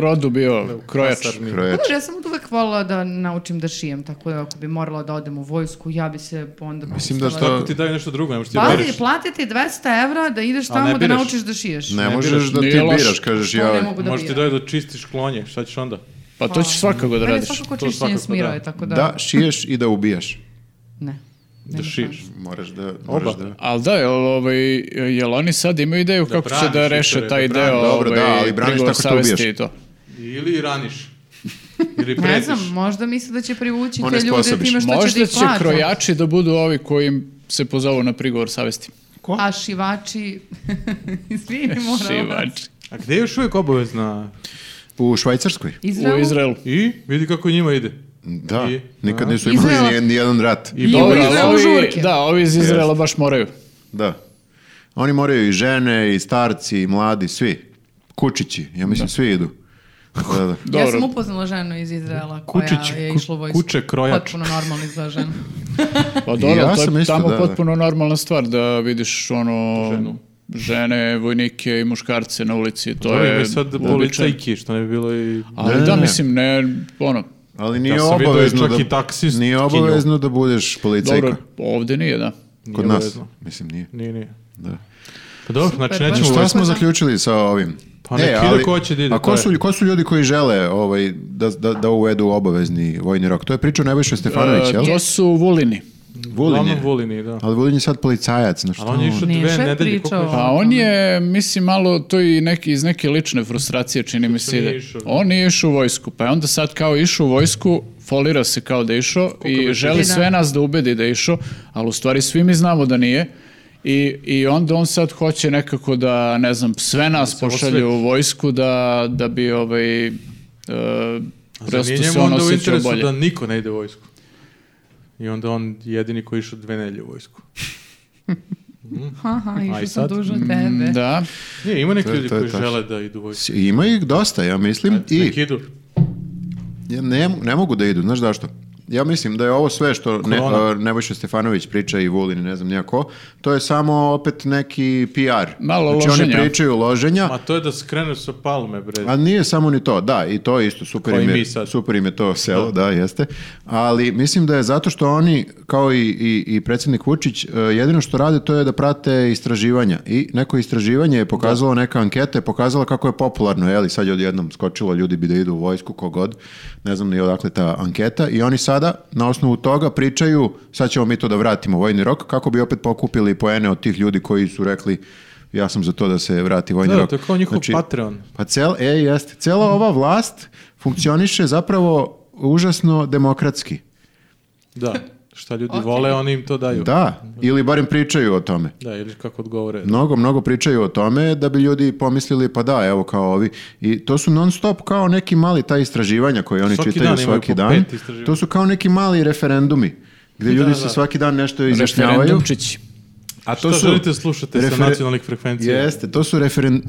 rodu bio
U
krojač?
kasarni.
Krojač.
Dobro, ja sam od uvek volila da naučim da šijem, tako da ako bi morala da odem u vojsku, ja bi se onda...
Mislim da
postala-
što-
Ako ti daju nešto drugo, nemoš ti da
Pazi,
beriš.
platiti 200 evra da ideš
A ne
tamo da
biraš.
naučiš da šiješ.
Ne,
Ne
možeš
biraš,
da ti
nije
biraš,
loše.
kažeš
To ne
ja...
mogu da
Možeš ti daju da čistiš klonje, šta ćeš onda?
Pa to ćeš svakako da
Mene
radiš.
svakako
To
čišćenje
svakako,
smirao
da.
je, tako Pa da...
Da, šiješ i da ubijaš.
Ne.
Da šiješ.
Moraš da... Moraš
Oba.
da...
Ali da, jel, ovaj, jel oni sad imaju ideju kako će
braniš,
da
Viktore,
reše
da
taj
braniš.
deo
Dobro, da,
ovaj,
ali braniš
prigovor
tako što
savesti i
ubijaš.
to.
Ili raniš. Ili
Ne
pretiš.
znam, možda misle da će privući
One
te ljude
sposobiš.
time što će da
Možda
ih
će
plaću.
krojači da budu ovi koji im se pozovu na prigovor savesti.
A šivači... Izvini, moram.
Šivači.
A gde je još uvijek obavezna?
U Švajcarskoj?
U Izraelu.
I vidi kako njima ide.
Da,
I-
nikad
A?
nisu imali
Izraela-
ni- ni jedan rat.
I
I
dobro,
u
Dobro, ali
Izraelu
ovi,
žurke.
da, ovi iz Izraela baš moraju.
Da. Oni moraju i žene, i starci, i mladi, svi. Kučići, ja mislim svi idu. Da, da.
Dobro. pa
Ja sam upoznala ženu iz Izraela koja
Kučić,
je
ku-
išla u vojsku.
kuče krojač.
Potpuno normalno izgleda žena.
Pa dobro,
ja
to je
sam isto,
tamo
da, da.
potpuno normalna stvar da vidiš ono
Ženu.
žene, vojnike i muškarce na ulici. To
Dobro,
je
ima i sad
uobičajeno.
policajki, što ne bi bilo i...
Ali
Ne,
da,
ne.
mislim, ne, ono,
Ali nije
Ja sam vidio
obavezno
čak
da,
i taksistkinju.
nije obavezno da budeš policajka.
dobro, ovde nije, da.
Nije
Kod nas.
obavezno.
Mislim nije.
Nije, nije.
Da.
Pa dobro, znači
Super,
nećemo
baš.
u
Šta
vojsku.
smo zaključili sa ovim? E,
Pa nek ide ko hoće da ide,
a
to
ko
je.
su, ko su ljudi koji žele ovaj, da, da, da uvedu obavezni vojni rok? To je pričao Nebojša Stefanović,
E,
jel?
to su vulini.
Vulin je.
Uglavnom Vulin je, da.
Ali Vulin je sad policajac, na što
Ali on je išao
Nije
dve
šef
nedelje.
pričao.
koliko je išao?
Pa
Pa on je, mislim, malo to i neki, iz neke lične frustracije čini mi se.
nije
ide.
išao.
On nije išao u vojsku, pa je onda sad kao išao u vojsku, folira se kao da je išao i
bi
želi
bilo?
sve nas da ubedi da je išao, ali u stvari svi mi znamo da nije. I, I onda on sad hoće nekako da, ne znam, sve nas
Samo
pošalje
sve.
u vojsku da, da bi ovaj... e,
A zar
prosto
nije
se
ono
njemu
on
onda u
osjećao
interesu
bolje.
da niko ne ide u vojsku? I onda on jedini koji je išao dve nedelje u vojsku.
Aha, išao sam
sad?
dužno tebe.
Mm, Da,
Nije, ima neki
To je-
ljudi
to je
koji
tačno.
žele da idu u vojsku.
ono, Ima ih dosta, ja mislim. I
Nek idu.
Ja ne, ne mogu da idu, znaš zašto? Ja mislim da je ovo sve što ne,
Korona.
a, Nebojša Stefanović priča i Vulin i ne znam nijako, to je samo opet neki PR.
Malo
znači,
loženja.
oni pričaju loženja,
Ma to je da skrenu sa palme, bre.
a nije samo ni to. Da, i to je isto, super
Kao i
im je,
mi sad.
super im je to selo, da. jeste. Ali mislim da je zato što oni, kao i, i, i predsjednik Vučić, e, jedino što rade to je da prate istraživanja. I neko istraživanje je pokazalo, neka anketa je pokazala kako je popularno, jeli, sad je odjednom skočilo, ljudi bi da idu u vojsku, kogod, ne znam ni odakle ta anketa, i oni sada na osnovu toga pričaju, sad ćemo mi to da vratimo u vojni rok, kako bi opet pokupili poene od tih ljudi koji su rekli ja sam za to da se vrati vojni
Da,
rok.
to je kao njihov Patreon.
Pa cel, e, jeste. Cela ova vlast funkcioniše zapravo užasno demokratski.
Da, šta ljudi vole, oni im to daju.
Da, ili barem pričaju o tome.
Da, ili kako odgovore.
Mnogo, mnogo pričaju o tome da bi ljudi pomislili pa da, evo kao ovi. I to su non stop kao neki mali ta istraživanja koje oni
Svaki
čitaju
dan imaju
svaki
po
dan.
pet istraživanja.
To su kao neki mali referendumi gdje ljudi
da.
se svaki dan nešto izjašnjavaju.
referendumčić.
A
Što želite slušati sa
Referen-
nacionalnih frekvencija?
Jeste, to su referen-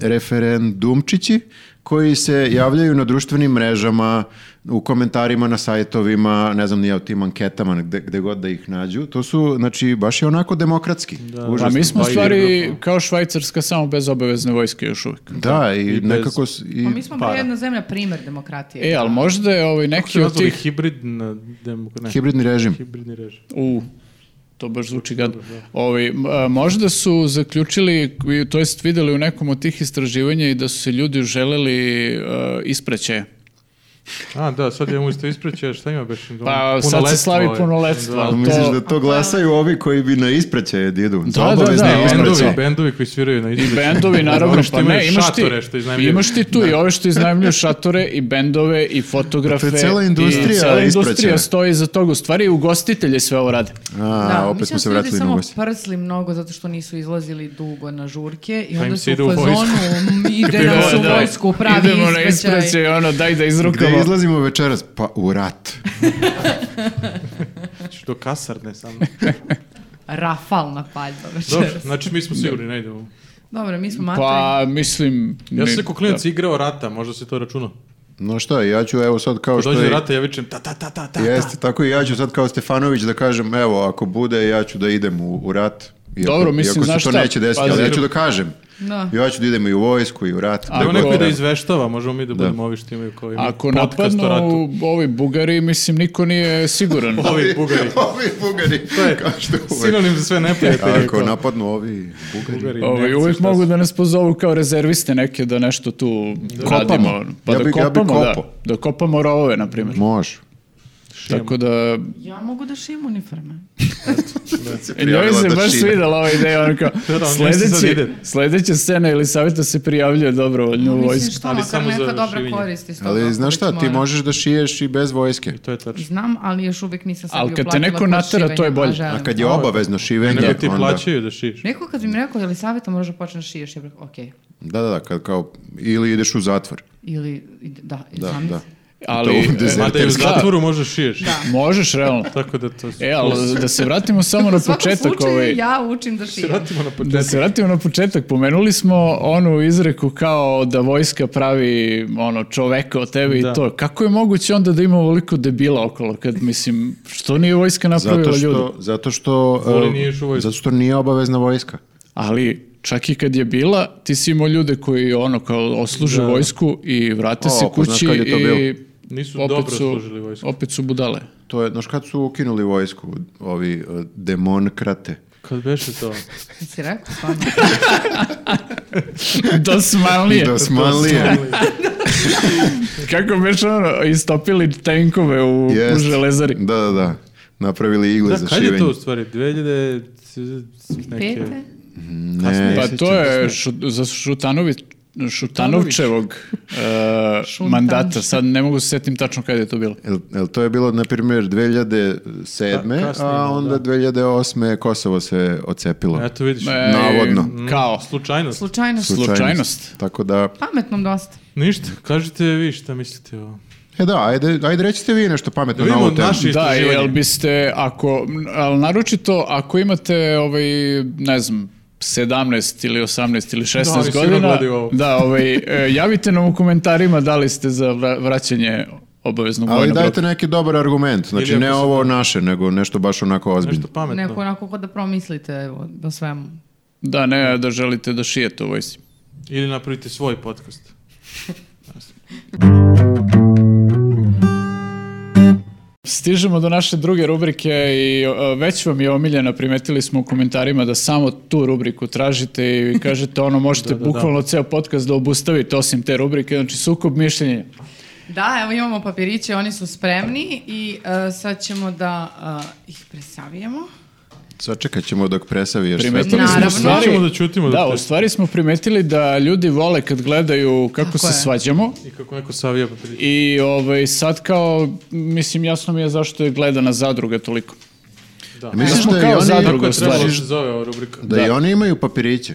referendumčići koji se javljaju na društvenim mrežama, u komentarima na sajtovima, ne znam, nije u tim anketama, gde, gde god da ih nađu. To su, znači, baš je onako demokratski.
Pa
Užasno.
mi smo u
Pa i
stvari
Evropa.
kao Švajcarska samo bez obavezne vojske još uvijek.
Da, i,
I bez-
nekako... s- I,
Pa mi smo
para.
bili jedna zemlja primer demokratije.
E, ali možda je ovaj
Kako su
neki od
nazvali,
tih...
hibridna demokratija?
Hibridni režim.
Hibridni režim.
U, to baš zvuči gadno. Ovi, m- a, možda su zaključili, i- to jest videli u nekom od tih istraživanja i da su se ljudi želeli uh, ispraćaje.
A, da, sad je mu isto ispreće, šta ima beš?
Pa sad se
Punoletstvo
slavi
je.
punoletstvo.
Da.
ali
Misliš
to-
da to glasaju ovi koji bi na ispraćaje da idu?
Da, da,
Za obavezne
da,
ispraćaje.
ispraćaj.
Bendovi, bendovi koji sviraju na ono,
I
ispreće.
bendovi, naravno,
Oni što
pa ne,
imaju
imaš ti,
šatore što iznajmljuju. Pa
imaš ti tu i ove što iznajmljuju šatore i bendove i fotografe.
To je cela industrija
I cela industrija
ispraćaja.
stoji iza toga. U stvari ugostitelji sve ovo rade.
A,
Da,
opet
mislim
smo se
da su ljudi
vratili na
samo
gosti.
prsli mnogo zato što nisu izlazili dugo na žurke i
Pa
onda
im
su
se ide u
u fazonu,
vojsku.
"M, ide nas u vojsku, pravi
Idemo na
ispraćaj.
ispraćaj, ono, daj da
pa-
Gde
izrukamo.
izlazimo večeras? Pa u rat.
Što kasarne samo.
Rafalna paljba
Dobro,
večeras.
znači mi smo sigurni, ne idemo.
Dobro, mi smo materi.
Pa, mislim...
Ja sam
ni-
se kao klinac igrao rata, možda se to računa.
No šta, ja ću evo sad kao što
Dođe
je...
rata, ja vičem ta ta ta ta ta.
Jeste, tako i ja ću sad kao Stefanović da kažem, evo, ako bude, ja ću da idem u, u rat. Iako,
Dobro, mislim,
iako se
znaš
to
šta,
neće desiti,
pazi.
ali ja ću da kažem.
Da.
Ja ću da idem i u vojsku i u rat.
A
Nego
Nego-
ako-
neko da izveštava, možemo mi da budemo ovi što imaju koji
Ako
podcast o ratu.
napadnu ovi Bugari, mislim, niko nije siguran.
Ovi bugari.
Ovi bugari,
To je
kao što uvek.
sinonim za sve neprijatelje.
Ako napadnu ovi bugari.
Bugari,
Ovi,
Nemci,
uvijek
šta
mogu da nas pozovu kao rezerviste neke da nešto tu radimo.
Kopamo.
Pa
Ja
da
bi- ja bi
kopamo, da.
kopao.
Da kopamo rovove, na primjer.
Može.
šijemo.
Tako da,
Ja mogu da šijem uniforme.
E,
njoj se baš svidela ova ideja, ono kao,
Da, da, on misli sad
sledeći,
ide.
sledeća scena ili savjeta se prijavljuje dobrovoljno u
Mislim
vojsku.
što,
Ali
makar
samo za
neka dobra
šivenje.
korist iz toga.
Ali znaš
ako
šta,
već
ti
moram.
možeš da šiješ i bez vojske.
I to je tačno.
Znam, ali još uvijek nisam sebi
Ali kad te
uplatila kod
neko natera, to je
šivenja,
bolje.
a želim.
A kad je obavezno šivenje,
Nego ti
onda-
plaćaju da šiš.
Neko kad bi mi rekao, je li savjeta možda počneš šiješ, ja bih rekao, okej.
Da, da, da, kad kao, ili ideš u zatvor.
Ili, da,
Da,
zamisli.
da.
Ali,
To u
e,
dezer-
Mada i u
Deserterska.
zatvoru možeš šiješ.
možeš, realno.
Tako da to...
E, ali da se vratimo samo na
U svakom
Ono početak.
slučaju
ovaj,
ja učim da šijem.
Vratimo na
Da
početak.
se vratimo na početak, pomenuli smo onu izreku kao da vojska pravi ono čoveka od tebe
Da.
i to. Kako je moguće onda da ima ovoliko debila okolo kad mislim što nije vojska napravila
Zato
ljudi?
što, zato što,
Voli
e,
nije išao u vojsku.
zato što nije obavezna vojska.
Ali čak i kad je bila, ti si imao ljude koji ono kao osluže
Da.
vojsku i vrate
O,
se
pa znaš
kući
kad je to
i
Nisu
opet
dobro
su,
služili vojsku.
opet su budale.
To je, znaš kad su ukinuli vojsku, ovi e, demonkrate?
Kad beše to?
Si rekao stvarno?
Dosmanlije.
Dosmanlije.
Kako već ono, istopili tenkove u, u
Jest.
železari.
Da, da, da. napravili igle
Da,
za
kad je to
šivenje.
u stvari? 2000... s- neke-
Pete?
Ne,
Pa to je šu- za Šutanovi, Šutanovčevog e,
Šuntan.
mandata. Sad ne mogu se setim tačno kada je to bilo.
Jel, jel to je bilo, na primjer, 2007.
Ka- kasnije,
a onda
da.
2008. Kosovo se ocepilo.
Eto vidiš, mm,
E,
Navodno.
Kao.
slučajnost.
Slučajno.
Slučajnost.
Tako da,
Pametnom dosta.
Ništa, kažite vi šta mislite o ovom.
e da, ajde, ajde recite vi nešto pametno
Da
na
vidimo
ovu temu.
naši-
Da,
istraživanje.
jel biste, ako, ali naročito ako imate, ovaj, ne znam, 17 ili 18 ili 16
Da, ali sigurno
godina,
gledaju ovo.
da, ovaj, e, javite nam u komentarima da li ste za vra- vraćanje obaveznog
Ali
vojnog
dajte
roka.
neki dobar argument, znači
ako
ne
se-
ovo naše, nego nešto baš onako ozbiljno.
Nešto pametno.
Neko onako kod da promislite evo, o svemu.
Da, ne, da želite da šijete u vojsi.
Ili napravite svoj podcast.
Stižemo do naše druge rubrike i e, već vam je omiljena, primetili smo u komentarima da samo tu rubriku tražite i kažete ono, možete
Da, da, da.
bukvalno ceo podcast da obustavite osim te rubrike, znači sukob mišljenja.
Da, evo imamo papiriće, oni su spremni i e, sad ćemo da e, ih presavijemo.
Sačekat ćemo dok presaviješ sve
Primetili smo
to.
Naravno.
u stvari-
Nećemo da ćutimo dok
Da,
te-
u stvari smo primetili da ljudi vole kad gledaju kako
Tako
se
je.
svađamo
I kako neko savija pa papirić.
i ovaj, sad kao, mislim, jasno mi je zašto je gledana zadruga toliko.
Da.
Mi
Smo
smo da i
kao
oni,
zadruga.
Tako
druga
je trebalo
stvar.
da se zove ova rubrika.
da i oni imaju papiriće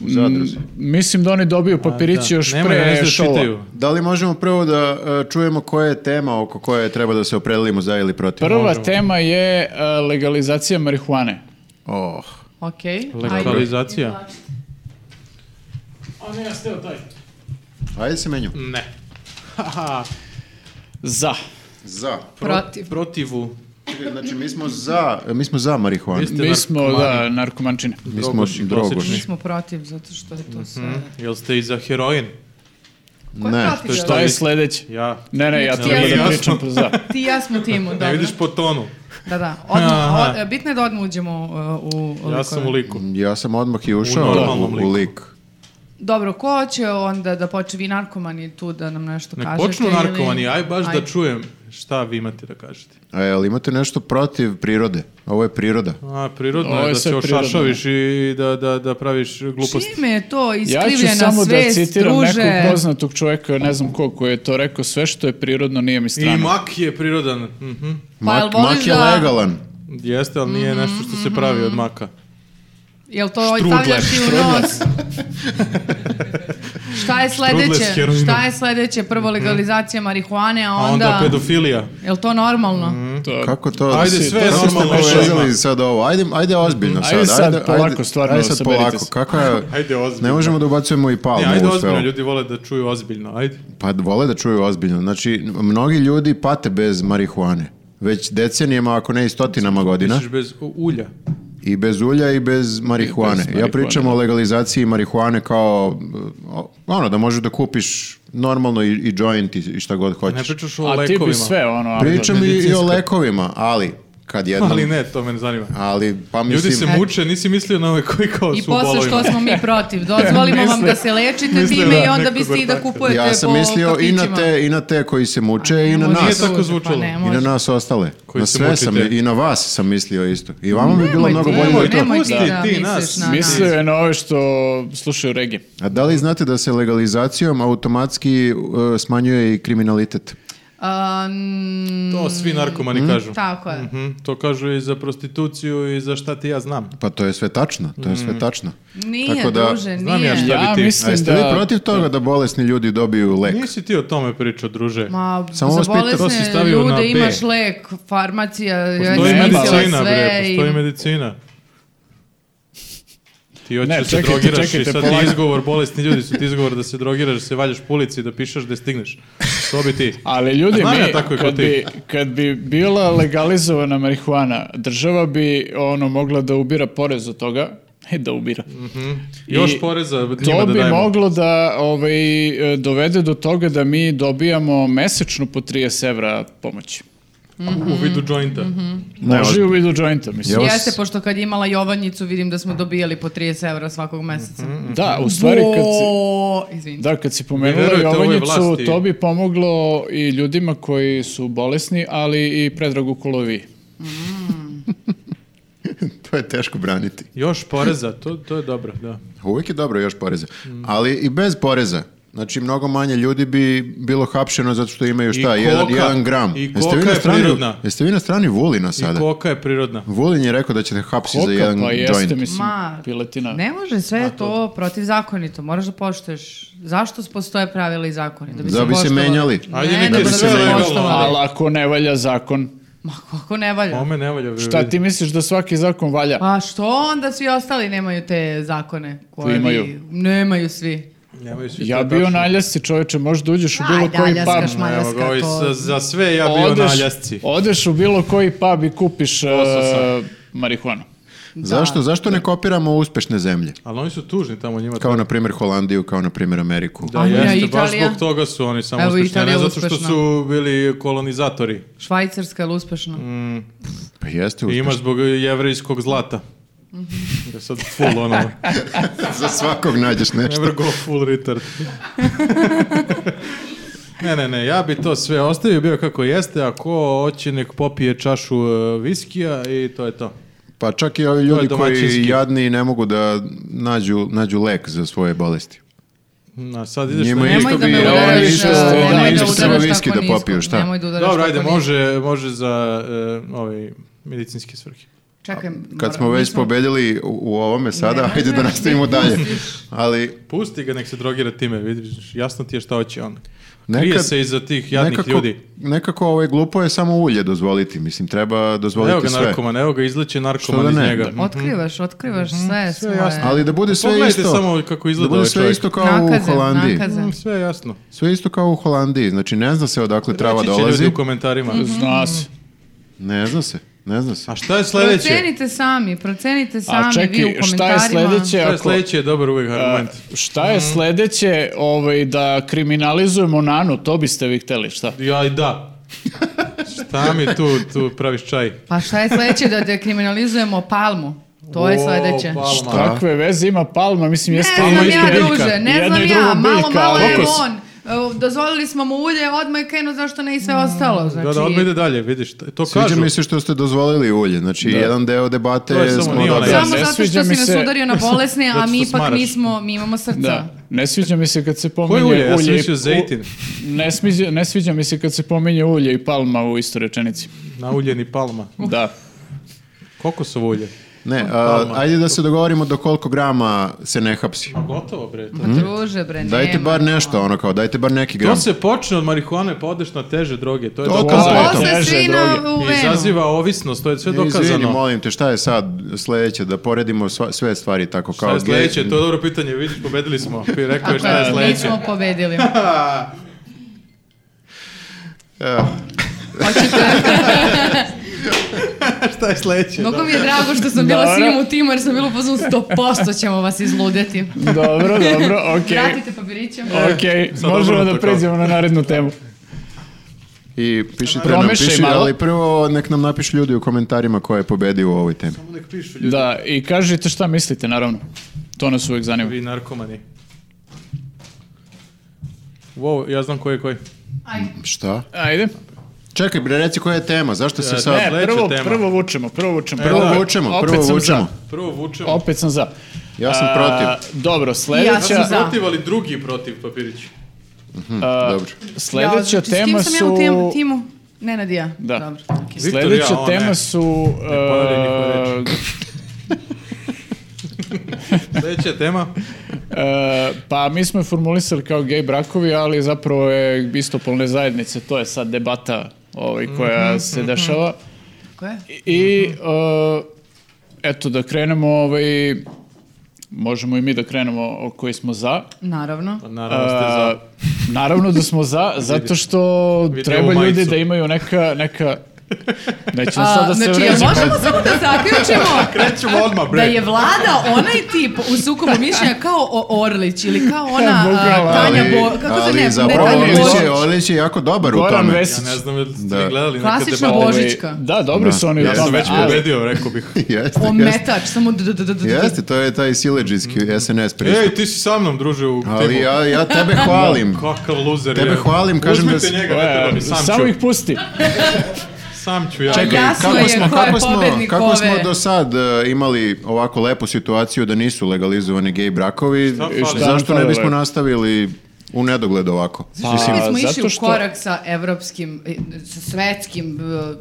Mm.
u zadruzi.
Mislim da oni dobiju papirići
Da.
još
Nema veze
pre
da
šova.
čitaju.
Da li možemo prvo da e, čujemo koja je tema oko koje treba da se opredelimo za ili protiv?
Prva
Možemo.
tema je e, legalizacija marihuane.
Oh,
Ok.
Legalizacija.
ajde se menju.
Ne.
Za.
Za.
Protiv.
Protivu.
Čekaj, Znači mi smo za, mi smo za marihuanu.
Vi ste
Mi smo,
narkomani.
da, narkomančine.
Mi smo drogoši.
Drogoši, klasični.
Mi smo protiv, zato što je to sve...
Jel ste i za heroin?
Ko je
Ne,
protiv?
što-
To je
vi-
sledeće.
Ja.
Ne, ne, ja
Ne,
treba da
jasno.
pričam po za.
Ti i ja smo timu,
Ne
dobro.
vidiš po tonu.
Da, da. Odmah,
Aha.
od- bitno je da odmah uđemo e, u likove.
Ja sam u liku.
ja sam odmah i ušao
U
u,
normalnom
u
liku.
lik.
Dobro, ko će onda da počne, vi narkomani tu da nam nešto
Nek
kažete?
počnu
ili-
narkomani, aj baš
Ajde.
da čujem šta vi imate da kažete.
A jel imate nešto protiv prirode? Ovo je priroda.
A, prirodno
Ovo je
je da
sve
se
prirodno,
ošašaviš i da, da, da praviš gluposti.
Čime je to
Ja ću
iskrivljena
samo da
svest,
citiram
druže?
nekog poznatog čoveka, ne znam ko, koji je to rekao, sve što je prirodno nije mi
I
strano.
mak je prirodan. Mhm.
Pa jel
Mak,
voliš
mak je
da-
legalan.
Jeste, ali
Mhm,
nije nešto što se pravi od maka.
Jel to ovaj
Štrudler,
stavljaš ti u
štrudler.
nos? Šta je
Štrudler s
sledeće?
heroinom.
Šta je sledeće? Prvo legalizacija marihuane, a
A onda
onda...
pedofilija.
Jel to normalno?
To-
Kako to?
Ajde,
si-
sve
to
je
ste
normalno ovaj,
povezali
ima.
sad ovo. Ajde, ajde ozbiljno sad.
Ajde sad polako, stvarno,
ajde sad
saberite
polako.
se.
Kako je,
Ajde ozbiljno.
ne možemo da ubacujemo i palmu
Ne, E, ajde
u sve
ozbiljno,
ovo.
ljudi vole da čuju ozbiljno, ajde.
Pa vole da čuju ozbiljno. Znači, mnogi ljudi pate bez marihuane. Već decenijama, ako ne i stotinama godina.
Misliš bez u- ulja.
I bez ulja i bez marihuane.
marihuane,
ja pričam
da.
o legalizaciji marihuane kao o, ono da možeš da kupiš normalno i, i joint i, i šta god
Ne
hoćeš.
pričaš o
A ti
lekovima.
bi sve ono... ali-
Pričam i, i o
medicinsko.
lekovima, ali kad jednom...
Ali ne, to me zanima.
ali, pa mislim...
Ljudi se muče, nisi mislio na ove koji kao
I
su u bolovima.
posle što smo mi protiv, dozvolimo vam da se lečite
Mislim
time
da,
i onda
nekog
biste i da
ortaka.
kupujete
ja sam
po
mislio i na,
Ovaj kafićima.
te, i na te koji se muče i na
Ne može
nas.
tako
suze,
zvučalo.
Pa ne
I na
može.
nas ostale.
Koji
na
se
sve
mučite.
sam i na vas sam mislio isto. I vama bi bilo
Nemoj
mnogo
ti,
bolje da je to.
nemoj ti
Pusti
da
ti
misliš
nas.
na nas.
Mislio je na ove što slušaju regije.
A da li znate da se legalizacijom automatski e, smanjuje i kriminalitet?
A, mm,
To svi narkomani kažu.
Tako je.
Mhm, to kažu i za prostituciju i za šta ti ja znam.
Pa to je sve tačno, to je
Mm.
sve tačno.
Nije,
Tako da,
druže,
znam ja
nije.
šta- bi
Ja
ti?
A
mislim
jeste vi
da...
protiv toga da bolesni ljudi dobiju lek?
Nisi ti o tome pričao, druže.
Ma,
Samo vas
za
pitam.
To si
bolesne
stavio na
ljude
B.
imaš lek, farmacija,
Postoji
ne,
smislila
medicina,
sve
bre,
i-
postoji medicina. Ti hoćeš
Ne,
da se
čekajte,
drogiraš
čekajte,
i sad
polako.
ti izgovor, bolesni ljudi su ti izgovor da se drogiraš, da se valjaš po ulici, da pišeš, da stigneš. To bi ti.
Ali ljudi,
A znam
mi,
ja tako je kao
kad,
ti.
bi, kad bi bila legalizovana marihuana, država bi ono mogla da ubira porez od toga. E, da ubira.
Mhm. Još
I
poreza njima
To
da
bi
dajemo.
moglo da ovaj, e, dovede do toga da mi dobijamo mesečno po 30 evra pomoći.
U
Mhm.
vidu jointa.
Može i u vidu jointa, mislim.
Ja vas-
Jeste, pošto kad je imala Jovanjicu vidim da smo dobijali po 30 evra svakog meseca.
Mhm,
Da, u stvari kad si...
Bo- Izvini.
Da, kad si
Ne
pomenula
verujete ovoj
Jovanjicu,
vlasti.
to bi pomoglo i ljudima koji su bolesni, ali i predragu Kulovi.
to je teško braniti.
Još poreza, to, to je dobro, da.
Uvijek je dobro još poreza. Ali i bez poreza. Znači, mnogo manje ljudi bi bilo hapšeno zato što imaju šta,
I
jedan,
koka.
jedan gram.
I
Jeste
koka
vi na
je
strani-
prirodna.
Jeste vi na strani Vulina
I
sada?
koka je prirodna.
Vulin je rekao da će te
Znači
hapsi za
Koka,
jedan
pa jeste,
joint.
mislim,
Ma,
piletina.
Ne može, sve je to protivzakonito, moraš da poštuješ. Zašto postoje pravila i zakoni? Da bi
Da
se,
bi se
poštovali.
menjali.
Ajde,
Ne,
nek
da
je
bi
sve
se
legalno.
poštovali.
Ali ako ne valja zakon,
Ma kako ne valja?
Ome ne valja. bre,
šta
vidi.
ti misliš da svaki zakon valja?
Pa što onda svi ostali nemaju te zakone? Koje vi-
Imaju.
Nemaju svi.
Nemaju svi
Ja
to
bio
tačno.
na ljasci, čoveče, možeš da uđeš u bilo
Ajde,
koji
Aljaskaš,
pub.
ma-
Evo ga, ovi
Mađarska, to-
sa- za sve ja bio na ljasci.
odeš u bilo koji pub i kupiš e, marihuanu.
Zašto, zašto ne kopiramo uspešne zemlje?
Ali oni su tužni tamo njima.
Kao, na primjer, Holandiju, kao, na primjer, Ameriku.
Da,
Ajme,
jeste,
Italija.
baš zbog toga su oni samo
Evo,
uspešni, a
Italija
ne
je
zato što
uspešna.
su bili kolonizatori.
Švajcarska je uspešna.
Pa jeste
I ima
uspešno.
zbog jevrijskog zlata.
Mhm.
Ja sad full ono,
Za svakog nađeš nešto.
never go full retard. ne, ne, ne, ja bi to sve ostavio, bio kako jeste, a ko hoće nek popije čašu e, viskija i to je to.
Pa čak i ovi ljudi koji
domaćinski.
jadni ne mogu da nađu, nađu lek za svoje bolesti.
A sad ideš
Njima
na
je
isto
Nemoj da me
bi-
oni
udaraš,
isto-
e,
oni
nemoj da
isto
samo
udaraš
viski
tako
da popiju,
nisko.
šta?
Nemoj da udaraš
Dobro, ajde,
tako nisko.
može, može za e, ove medicinske svrhe.
Čekaj,
Kad
moram-
smo već
nismo-
pobedili u- u ovome sada,
Ne, ne,
hajde da
ne,
nastavimo
ne,
dalje.
pustiš.
Ali
Pusti ga, nek se drogira time, vidiš, jasno ti je šta hoće on.
Nekad-
Krije se iza tih jadnih
nekako,
ljudi.
nekako ovaj glupo je samo ulje dozvoliti. Mislim, treba
Evo
dozvoliti
ga
sve.
narkoman, evo ga izliče narkoman
da
iz
ne?
njega.
Otkrivaš, otkrivaš sve svoje.
Mhm. jasno.
Ali da bude sve
Pa Pogledajte
isto.
samo kako izgleda
da bude
ovaj
sve
čovjek.
isto kao u
Nakaze,
Holandiji.
nakaze.
Mm, Sve je jasno.
Sve isto kao u Holandiji. Znači, ne zna se odakle trava
Reći će
dolazi.
ljudi u komentarima.
Mm.
Zna se.
Ne zna se. Ne zna se.
A šta je sledeće?
Procenite sami, procenite sami
A
vi u
čekaj, šta je
komentarima.
sledeće?
Šta je
Ako,
sledeće je dobar uvijek argument.
A, šta
Mm.
je sledeće ovaj, da kriminalizujemo nanu? To biste vi hteli, šta?
Ja i da. šta mi tu, tu praviš čaj?
Pa šta je sledeće da dekriminalizujemo palmu? To je
O,
sledeće.
palma.
Kakve veze ima palma? Mislim,
Ne
jeste
znam
jedno
Palma
i
ja,
drugo.
druže, ne
Jedno
znam
i drugo
ja, malo,
biljka,
malo
ali-
je
Kokos.
on. E, Dozvolili smo mu ulje, odmah je krenuo, zašto ne i
Mm.
sve ostalo. Znači,
Da, da, odmah ide dalje, vidiš, to to
Sviđa
kažu.
mi se što ste dozvolili ulje. Znači, jedan deo debate
To je samo
smo
nije onaj-
odabrali.
Samo
Ne
zato
sviđa
što
mi
si nas
se-
udario na bolesne, a
Zato
mi
što
ipak
smaraš.
nismo, mi imamo srca.
Da, ne sviđa mi se kad se
Koje
pominje
ulje? Ja sam
i-
mislio zejtin.
Ne, smiđa, ne sviđa mi se kad se pominje ulje i palma u istoj rečenici.
Na uljeni palma.
Da.
Kokosovo ulje.
Ne, a, ajde da se dogovorimo do koliko grama se ne hapsi.
A gotovo bre, to.
Mhm.
Pa
Mhm.
druže, bre,
Dajte
nema.
bar nešto, ono kao, dajte bar neki
To
gram.
se počne od marihuane, pa odeš na teže droge. To je
To
dokazano.
kao-
Posle
Teže
svi
droge.
na, u
I
venu.
izaziva ovisnost, to je sve
E, Izvini,
dokazano.
molim te, šta je sad sledeće, da poredimo sva- sve stvari tako kao...
Šta je
gej-
sledeće? To je dobro pitanje, vidiš, pobedili smo. Ti rekao je šta je
Tako je, mi
sledeće.
smo pobedili.
Eh,
šta je sledeće?
Mnogo mi je drago što sam bila s
Dobro.
njim u timu jer sam bila u fazonu 100% ćemo vas izludeti.
Dobro, dobro, okej.
Vratite papiriće.
Okej,
Sad
možemo
obrnuto
da
kao.
pređemo na narednu temu.
I pišite nam,
Promešaj
piši,
malo.
ali prvo nek nam napišu ljudi u komentarima ko je pobedio u ovoj temi.
Nek pišu ljudi,
Da, i kažite šta mislite, naravno. To nas uvijek zanima.
vi narkomani. Wow, ja znam koji je koji.
Ajde.
Šta?
Ajde.
Čekaj, bre, reci koja je tema, zašto se
E,
sad...
Ne,
sledeća
prvo,
tema.
prvo vučemo, prvo vučemo.
prvo
da.
vučemo,
Opet
prvo
sam
vučemo.
za.
Prvo vučemo.
Opet sam za.
Ja sam
A,
protiv.
dobro,
Ja
sljedeća,
sam za.
Protiv, ali drugi protiv papirić.
Dobro.
sljedeća
Ja,
tema
S kim sam ja
su...
u timu? timu? Nenad i ja.
Da.
Dobro. okej.
Viktor,
Sljedeća
ja, o, ne.
tema su...
ponavljaj
e,
njihove Sljedeća tema.
E, pa mi smo je formulisali kao gej brakovi, ali zapravo je istopolne zajednice, to je sad debata ovaj, koja
Mhm,
se dešava.
Ko je?
I e, eto da krenemo, ovaj, možemo i mi da krenemo o koji smo za.
Naravno.
Pa Naravno ste za.
E, naravno da smo za, zato što
Vidio
treba ljudi
majicu.
da imaju neka, neka Nećemo
A,
sad da Pa se
znači, jel
vređamo.
možemo samo da zaključimo
Krećemo odmah, bre.
da je vlada onaj tip u sukobu mišljenja kao o- Orlić ili kao ona a,
Bukvalno.
Tanja
Ali-
Bo... Kako se
ali
ne, ne
zapravo
Tanja
Orlić
Orlić
Božić.
je, Orlić je jako dobar u
Goran
tome.
Vesić.
Ja ne znam jel ste
Da.
gledali neke
Klasična
debate.
Ovaj,
Božićka.
Da, dobri
Da.
su oni. u
Ja sam
Ja sam
tome,
već
ali-
pobedio, rekao bih.
Jeste, jeste.
Ometač, samo... d- d- d- d- d- d-
Jeste, to je taj sileđijski SNS pristup.
Ej, ti si sa mnom, druže, u
Ali
timu.
ja, ja tebe hvalim.
Kakav luzer
Tebe
je.
hvalim, kažem da
E,
Uzmite
si-
njega, ne treba mi sam
Samo
ću.
ih pusti.
sam ću ja.
Čekaj, Jasno
kako
je
smo,
ko je
kako smo,
pobednik
kako smo
ove.
do sad e, imali ovako lepu situaciju da nisu legalizovani gej brakovi?
fali?
I
Šta
Zašto
nam
ne
fali?
bismo nastavili u nedogled ovako?
Pa, Mislim,
Pa,
smo
zato
išli
što-
u korak sa evropskim, e, sa svetskim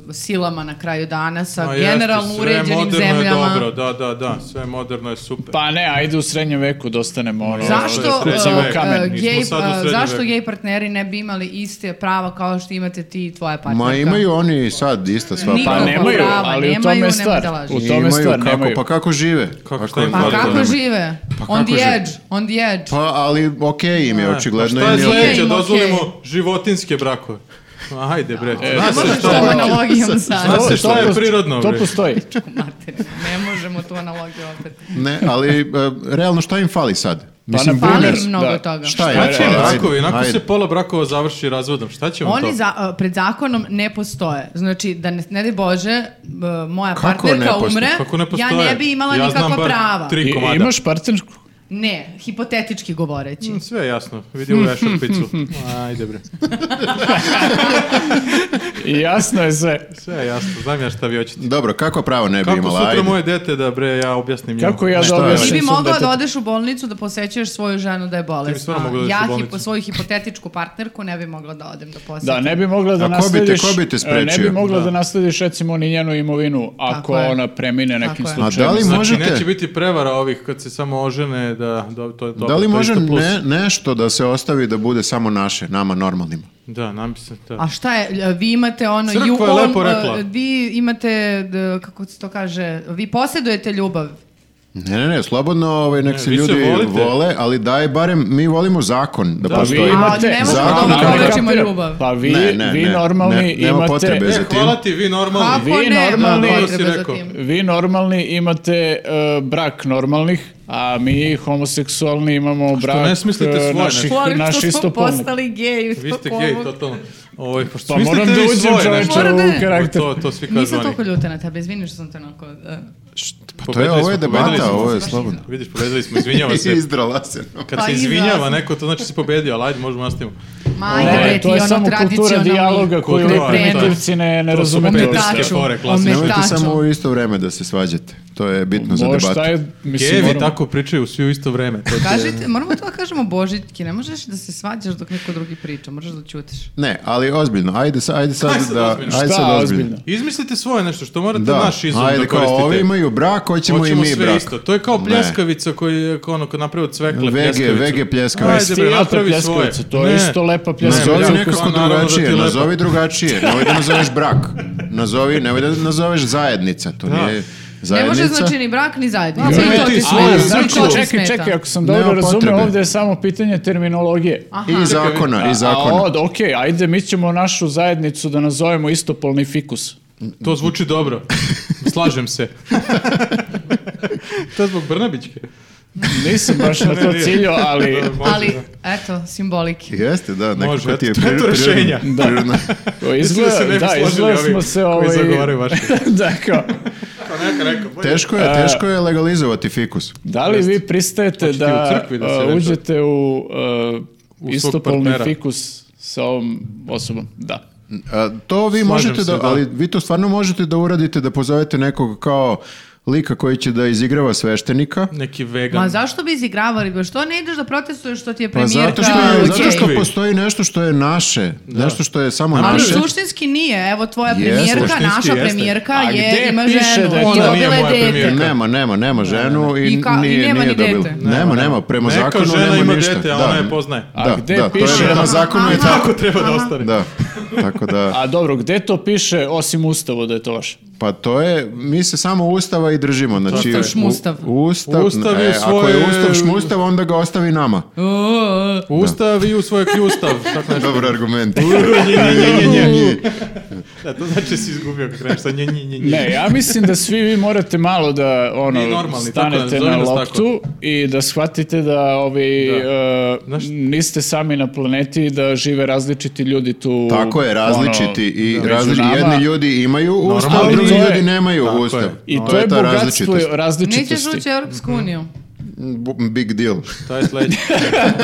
e, silama na kraju dana, sa
Ma jeste,
generalno
sve
uređenim
moderno
zemljama.
je dobro, da, da, da, sve moderno je super.
Pa ne, ajde u srednjem veku dostanemo ono...
Zašto, eh,
Srednji
recimo
vek.
kamen.
e, gej,
Nismo sad u
e,
srednjem
zašto
veku.
gej partneri ne bi imali iste prava kao što imate ti i tvoja partnerka?
Ma imaju oni sad ista sva
Nikako.
Pa
prava.
nemaju,
prava,
ali u
nemaju,
tome je
nemoj
stvar.
da lažeš.
U
I
tome je
imaju
stvar,
kako,
nemaju.
Pa kako žive?
Kako, šta im
Pa
fali?
kako
Nemaju.
žive?
Pa kako
on the
žive?
edge, on the edge.
Pa, ali okej im je,
E,
očigledno
pa
im je
Šta je
okej.
sledeće,
Okej,
dozvolimo
okej.
životinske brakove. Ma, Ajde bre, zna
Ne
se
možeš
što
to
E,
analogijom sad.
Zna se što je
post-
prirodno
To
bre.
postoji.
Pa-
Mater, ne možemo tu analogiju opet.
Ne, ali e, realno šta im fali sad?
Pa
Mislim,
na
Fali
primer,
mnogo
da.
toga.
šta je?
Šta će
Ajde,
Znači, brakovi, onako
ajde.
se pola brakova završi razvodom, šta će vam to?
Oni za, a, pred zakonom ne postoje. Znači, da ne, ne daj Bože, b- moja
Kako ne
partnerka
postoje?
umre,
Kako ne
ja
postoje?
ne bi imala
Ja znam
nikakva
bar
prava.
tri
I,
komada.
imaš partnersku?
Ne, hipotetički govoreći.
Mm, Sve je jasno, vidi u vešarpicu. Ajde bre,
I jasno je sve.
sve je jasno, znam ja šta vi hoćete.
Dobro, kako pravo ne bi
Kako
imala?
sutra
Ajde.
moje dete da bre ja objasnim njemu?
Kako ja
Šta
da
je?
objasnim
Ti bi
svom
mogla da
detetu?
odeš u bolnicu da posećuješ svoju ženu da je bolesna.
stvarno mogla da odeš
ja
u bolnicu.
hipo- svoju hipotetičku partnerku ne bi mogla da odem da posetim.
Da, ne bi mogla da
A ko bi te-
naslediš...
ko bi te
e, Ne bi
sprečio?
mogla da, naslediš recimo ni njenu imovinu ako
Tako je.
ona premine nekim
Tako je.
A
slučajem.
da li
Znači, neće
možete,
biti prevara ovih kad se samo ožene da... da to, to,
da
to
li
je
može
isto plus.
ne, nešto da se ostavi da bude samo naše, nama normalnima?
Da, napisam to.
A šta je, e, vi imate ono...
Crkva je
on-
lepo rekla.
e, vi imate, d- kako se to kaže, vi posjedujete ljubav.
Ne, ne, ne, slobodno ovaj, nek
Ne,
se
vi se
ljudi
volite.
vole, ali daj barem, mi volimo zakon da,
Pa
Da,
Vi
postoji.
vi-
imate...
A, ne možemo
da
Ali
odgovorimo
kapiram,
ljubav.
Pa vi,
Ne, ne,
vi
ne,
normalni
ne, nema
imate...
potrebe
E,
za tim.
hvala ti, Pa, vi normalni.
Kako
vi
ne,
normalni-
nema
Dobro
si
potrebe za
rekao.
tim.
Vi normalni imate e, brak normalnih, a mi homoseksualni imamo brak
ne smislite
e,
svoje
naših,
nešto?
Volim što
naših
smo
istopolnih.
postali geji.
Vi ste gej, totalno. Ovo, pa što
Pa moram
mislite
da
vi
uđem
svoje
čoveče
nešto?
Moram da-
u karakter.
To, to svi kažu
Nisam
oni.
toliko ljuta na tebe, izvini što sam te onako... e,
Pa to je, ovo je
pobedili
debata,
smo.
ovo je slobodno.
Vidiš, pobedili smo, izvinjava se.
Izdrala se.
Kad
Pa
se
i
izvinjava
vas.
neko, to znači si pobedio, ali ajde, možemo nastavimo.
Ma,
Ne,
ajde, bre, ti
to je
ono
samo kultura
tradicionalni-
dijaloga koju vi
Kultura, to je-
primitivci ne, ne
to su
razumete.
petnice.
uopšte.
Ometaču,
fore, klasično.
Nemojte
ometaču.
samo u isto vreme da se svađate. To je bitno za
Mo,
debatu.
šta je, mislim,
Gejevi
moramo-
tako pričaju svi u isto vreme. To ti-
Kažite, moramo to da kažemo Božitki, ne možeš da se svađaš dok neko drugi priča, moraš da ćutiš.
Ne, ali ozbiljno. Ajde, sa- ajde sad
Ajde sad
da...
ozbiljno.
Ajde
Šta
sad
ozbiljno?
ozbiljno.
Izmislite svoje nešto, što morate
Da,
naš izum
ajde
da
kao
koristite.
ovi imaju brak, hoćemo, i
Hoćemo
mi
sve
brak.
isto. To je kao
Ne.
pljeskavica koji je kao ono kad napravio
Vege,
cvekle pljeskavicu.
vege
To je
pljeskavice.
Ajde, bre,
stilata
napravi svoje.
pljeskavica, to je
Ne.
isto lepa pljeskavica.
Nazovi
brako,
nekako
pa naravno da ti
drugačije,
je lepo.
nazovi drugačije, nemoj da nazoveš brak. Nazovi, nemoj da nazoveš zajednica, to nije
Ne
zajednica.
može znači ni brak, ni zajednica.
Ne,
I
ne,
to
ti
ti
svoje,
smeta.
Ali,
Sve
znači,
I to ti
čekaj,
smeta.
čekaj, ako sam
Nema
dobro razumeo,
potrebe.
ovdje je samo pitanje terminologije.
Aha.
I zakona, i
A
zakona.
od, ok, ajde, mi ćemo našu zajednicu da nazovemo istopolni fikus.
To zvuči dobro. Slažem se. to je zbog Brnabićke.
Nisam baš na Pa to
nije.
ciljo, ali...
Može,
Ali,
da.
eto, simboliki.
Jeste, da, nekako
Može,
ti je
eto, to je to
prirodno-
rešenja.
prirodno.
Mislim
Izgleda,
se ne bi
da,
složili
izgleda
ovi
smo se
Koji
ovaj...
zagovaraju vaše.
da, kao,
Kao neka rekao, bolje.
Teško je, teško je legalizovati fikus.
da li vi pristajete
Hoćete
da,
u crkvi da se
a,
venčate?
uđete u, a,
svog
istopolni
partnera.
fikus sa ovom osobom? Da.
A, to vi možete
se,
da,
da.
ali vi to stvarno možete da uradite da pozovete nekog kao lika koji će da izigrava sveštenika. pa
Neki vegan.
Ma zašto bi izigravali? bre? Što ne ideš da protestuješ što ti
Pa
je premijerka?
zato što, je,
gej?
zato što
Okej.
postoji nešto što je naše, nešto što je samo
Ali
Ali
naše.
suštinski nije, evo tvoja
Jeste.
premijerka,
Suštinski
naša
jeste.
premijerka
A
je,
gde
ima
piše
ženu
da
i
je
ona nije
dobila je
moja
dete.
premijerka?
Nema, nema, nema ženu i,
I ka- i
nije,
nema
nije
ni dete.
dobila. Nema, nema, prema
Neka
zakonu
žena
nema
ima
ništa.
dete, a
Da.
ona je poznaje.
A gde
da, To
piše-
je prema zakonu i
Aha.
tako.
Tako treba da ostane.
Da, tako da,
A dobro, gde to piše osim ustavu da je to vaše?
pa to je, mi se samo ustava i držimo. Znači,
Ustav, šmustav.
u- Ustav,
Ustav je
e, ako je
svoje-
ustav šmustav, onda ga ostavi nama.
O,
Ustav i u svoj kljustav. Tako nešto.
Dobar argument.
Nje, nje, nje, nje, nje. Da, to znači da si izgubio kad kreneš sa nje, nje, nje, nje.
Ne, ja mislim da svi vi morate malo da ono,
Mi normalni, tako da,
stanete
zove
na
nas
loptu i da shvatite da ovi, e,
Znaš-
niste sami na planeti i da žive različiti ljudi tu.
Tako je, različiti
ono,
i
među
različiti.
nama.
Jedni ljudi imaju ustav,
Ali
drugi
to je-
ljudi nemaju
Tako
ustav.
je.
I to,
ta
je bogatstvo
različitost.
različitosti.
Nećeš ući u Europsku uniju.
bu- big deal.
Šta je sledeće?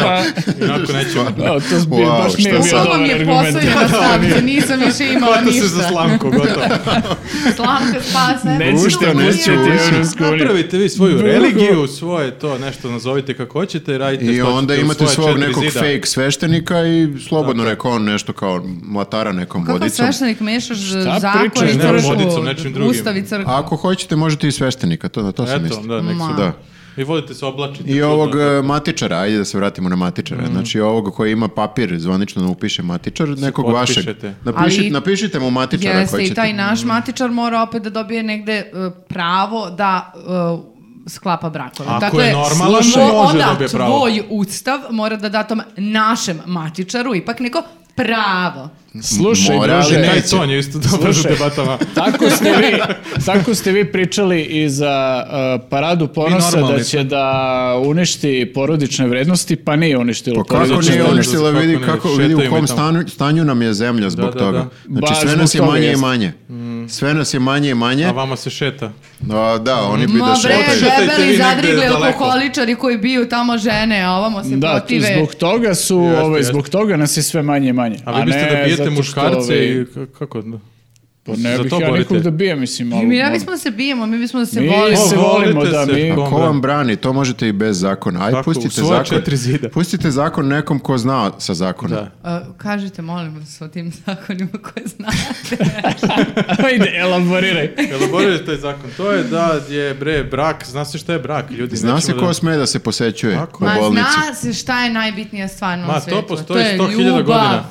Pa-
Inako nećemo.
Evo, to zbi,
Wow,
baš
šta
nije bio
sad?
Ovo
dobar
mi je
argument.
posao stavke, nisam više imala
Hvata se
Pa ništa.
za slamku, gotovo.
Slamka spasa.
Nećete
Ušte, neću,
pustiti
ušte.
Evropsku uniju.
Napravite vi svoju
Drugo.
religiju, svoje to nešto nazovite kako hoćete, radite
I
što hoćete
onda
u
imate
svoja
svog
četiri
nekog
zida.
fake sveštenika i slobodno rekao on nešto kao mlatara nekom
Kako
vodicom.
sveštenik mešaš zakon
pričaš?
i
Ne,
vodicom, nečim
crkvu,
drugim.
ustav i crkvu?
Ako hoćete, možete i sveštenika, to, na to sam
Eto,
mislio.
da, nek se
Ma.
da.
Da.
Vi volite se oblačiti.
I ovog e, matičara, ajde da se vratimo na matičara.
Mm.
Znači ovog koji ima papir, zvanično da upiše matičar, nekog vašeg.
potpišete.
Napiši-
Ali-
napišite mu matičara ako
Jeste, i
hoćete.
taj naš matičar mora opet da dobije negde e, pravo da e, sklapa brakove. Dakle,
Ako je normalan, može
onda
da dobije pravo.
tvoj ustav mora da da tom našem matičaru ipak neko pravo.
Slušaj,
Mora, ali
druže,
Taj
neće.
ton je isto dobar u
Slušaj.
debatama.
Tako ste vi, tako ste vi pričali i za uh, paradu ponosa
normalni
da će da uništi porodične vrednosti, pa nije uništilo
Pa kako
porodične
nije
da,
vrednosti.
uništila,
da,
vidi
kako ne,
kako vidi
šetaju
u
mi
kom
tamo.
stanu- stanju nam je zemlja zbog
Da, da,
toga.
da.
Znači
Baš
sve
zbog
nas je
toga
manje i
jeste.
manje. Sve nas je manje i manje.
Mm. A vama se šeta.
A, da, oni bi da
Ma bre,
šetaju.
Šetajte vi
debeli
negde
zadrigle
daleko.
alkoholičari koji biju tamo žene, a ovamo se
Da, tu-
protive.
zbog toga su,
Jeste,
ovaj,
jeste.
zbog toga nas je sve manje i manje.
A vi biste
ne
da
zato
bijete
što,
muškarce
ovaj,
i k- kako? da?
Pa ne
Za
bih
to
ja
borite.
nikog da bijem, mislim, ali... ono-
Mi ne
moram.
bismo da se bijemo, mi bismo da se
Mi
volimo.
se
O, volite
volimo, da,
se.
mi... Pa
Ko-
Ko vam brani, to možete i bez zakona. Aj,
Tako, u
pustite
svoja
zakon.
četiri zida.
Pustite zakon nekom ko zna sa zakona.
Da.
Uh, kažite, molim vas, o tim zakonima koje znate.
Ajde, elaboriraj.
Elaborirajte taj zakon. To je da je bre brak, zna se šta je brak, ljudi.
Zna se
nećemo
ko
da-
sme da se posećuje
Tako
u
je.
Ma
bolnici.
zna se šta je najbitnija stvar na
Ma,
ovom
to
svetu.
postoji
je
100.000
ljubav.
godina.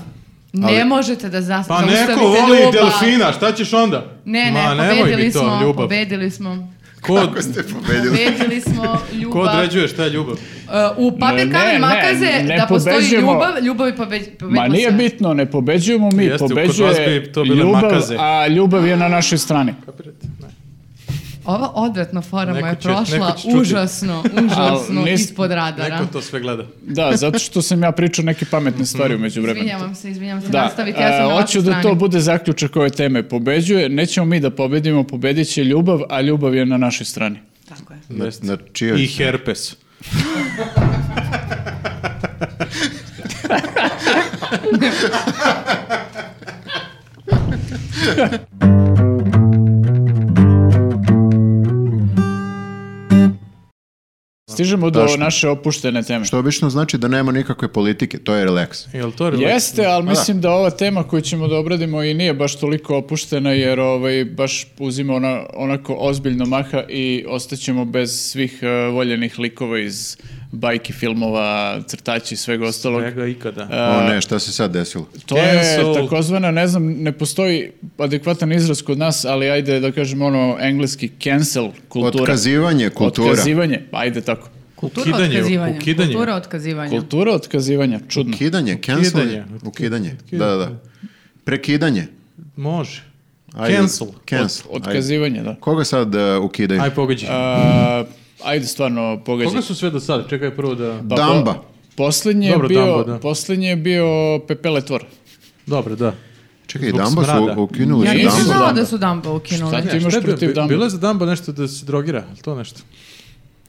Ne
Ali-
možete da zas-
Pa
zaustavite
neko voli
ljubav.
delfina, šta ćeš onda?
Ne, ne,
Ma, nemoj
pobedili
mi to,
smo,
ljubav.
pobedili smo.
Ko,
Kako ste pobedili?
Pobedili smo ljubav.
ko određuje šta je ljubav?
Uh, u
Ne,
papir
ne,
kamen
ne,
makaze
ne
da postoji
pobeđujemo.
ljubav, ljubav i pobeđ, pobedimo
Ma nije
sve.
bitno, ne pobeđujemo mi,
Jeste, kod vas
pobeđuje
bi to bile
ljubav,
makaze.
a ljubav je na našoj strani.
Kapirate? Ne.
Ova odvratna fora
Neko
moja je
će- neko
prošla
će čuti.
užasno, užasno
nis-
ispod radara.
Neko to sve gleda.
Da, zato što sam ja pričao neke pametne stvari umeđu vremenu.
Mhm. Izvinjavam se, izvinjavam se,
Da,
nastavite, ja sam
e,
na
hoću
vašoj
da
strani.
to bude zaključak ove teme. Pobeđuje, nećemo mi da pobedimo, pobedit će ljubav, a ljubav je na našoj strani.
Tako je.
Na,
Jeste.
na čijoj
I herpes.
Stižemo do
Tačno.
naše opuštene teme.
Što obično znači da nema nikakve politike, to je relaks.
Jel to relax?
Jeste, ali
Pa da.
mislim da ova tema koju ćemo da obradimo i nije baš toliko opuštena jer ovaj, baš uzima ona, onako ozbiljno maha i ostaćemo bez svih eh, voljenih likova iz bajki, filmova, crtači i svega ostalog.
Svega ikada.
O ne, šta se sad desilo?
To je
Cancel.
takozvana, ne znam, ne postoji adekvatan izraz kod nas, ali ajde da kažemo ono engleski cancel kultura.
Otkazivanje kultura.
Otkazivanje, pa ajde tako.
Kultura
Ukidanje,
otkazivanja.
ukidanje.
Kultura otkazivanja.
Kultura otkazivanja, čudno.
Ukidanje, cancel,
Ukidanje.
ukidanje, da, da, da. Prekidanje.
Može.
Ajde,
Cancel.
Cancel. Ajde.
Otkazivanje, da.
Koga sad uh, ukidaju?
Aj pogađi.
A, ajde stvarno pogađaj.
Koga su sve do sada? Čekaj prvo da...
Pa,
Damba.
po- Poslednji je,
Dobro,
bio,
Damba, da.
poslednji je bio Pepeletvor.
Dobro, da.
Čekaj,
Zbog
Damba
smrada.
su ukinuli.
Ja
Nisu
nisam
Damba.
znam.
znala
Damba.
da su Damba ukinuli.
Šta ti imaš
Šta je bio?
protiv
Bi-
Damba?
Bilo je za Damba nešto da se drogira, ali to nešto?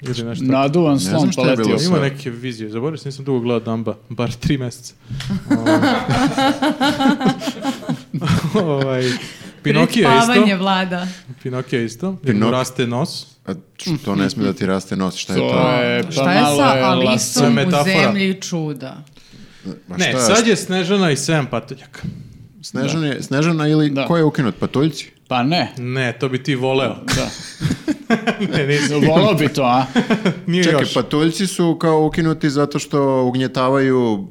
Ili nešto?
Naduvan slon
znam šta je
paletio.
bilo sa-
Ima neke vizije, zaboravio sam, nisam dugo gledao Damba, bar tri meseca. ovaj, Pinokio je
Spavanje
isto.
vlada.
Pinokio je isto. Jer mu
Pinok-
raste nos.
A, što ne smije da ti raste nos, šta je to?
To je, pa
Šta je
malo
sa
je las-
To je
Alisom u
metafora.
zemlji čuda?
Pa
Ma
Ne,
šta je,
sad je Snežana i 7 patuljaka.
Snežana, je- Snežana ili
Da.
ko je ukinut? Patuljci?
Pa ne,
Ne, to bi ti voleo.
da.
ne, nisam.
Volao bi to, a?
Nije
Čekaj,
pa-
još.
patuljci su kao ukinuti zato što ugnjetavaju...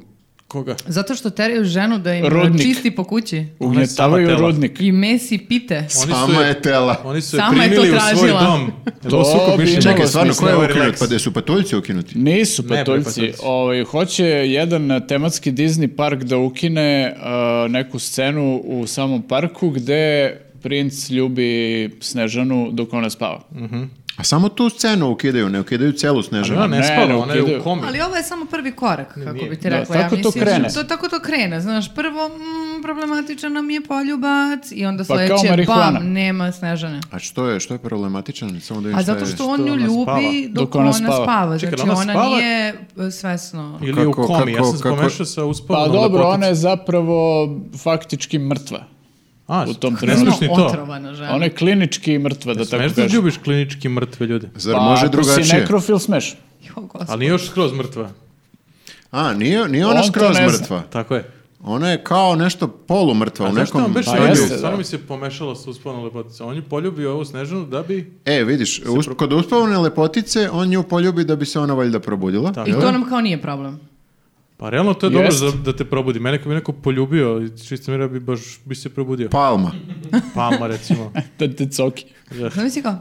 Koga?
Zato što teraju ženu da im
Rudnik.
čisti po kući.
Ugnjetavaju
tela.
rudnik.
I mesi pite.
Oni su
Sama
je-
je tela. E,
Oni su je
Sama je to
primili u svoj
tražila.
dom.
To
Ovo su ovaj kod
bi
mišljenja.
imalo
Čekaj, stvarno,
smisla.
ko je
Ovo je
ukinut?
relaks.
Pa da su patuljci ukinuti?
Nisu
Ne, bre,
patoljci.
patoljci.
Ovaj, hoće jedan tematski Disney park da ukine uh, neku scenu u samom parku gde princ ljubi Snežanu dok ona spava.
A samo tu scenu ukidaju, ne ukidaju celu Snežanu.
Ona ne
Pa Ne,
spava,
ne
ona je u
ukidaju.
komi.
Ali ovo je samo prvi korak, kako
nije.
bi ti
Da,
rekla.
tako
ja
to
mislim,
krene.
To, tako to krene, znaš. Prvo, mm, problematičan nam je poljubac i onda
Pa kao
sledeće,
marihuana.
bam, nema Snežane.
A što je, što je problematičan? Samo da vidim
A
šta
zato
je-
što on nju
ona spava?
ljubi dok, ona spava. Znači,
Čekaj,
ona,
ona spava?
nije e, svesno.
Ili
Kako-
u komi, ja sam
kako-
spomešao sa uspavom
Pa dobro, ona je zapravo faktički mrtva.
A,
u tom
ne znaš ni
Ono,
to.
Otrovana žena.
Ona je klinički mrtva, da
Smeš
tako
da
kažem.
ljubiš klinički mrtve ljude.
Zar može
Pa, ako si
drugačije?
nekrofil, smeš.
Jo, gospod.
Ali nije još skroz mrtva.
A, nije, nije ona
On to
skroz
ne zna.
mrtva.
Tako je.
Ona je kao nešto polumrtva
A
u
znaš šta on
nekom...
beše
Pa
radio?
jeste,
Samo
da.
mi se pomešalo sa uspavom lepotice. On je poljubio ovu Snežanu da bi...
E, vidiš, us- kod uspavane lepotice on nju poljubi da bi se ona valjda probudila.
Tako.
I
jel?
to nam kao nije problem.
Pa realno to je
Jest.
dobro za- da te probudi. Mene kad bi neko poljubio, čisto mira bi baš bi se probudio.
Palma.
Pama recimo.
Da te coki.
Znam si kao,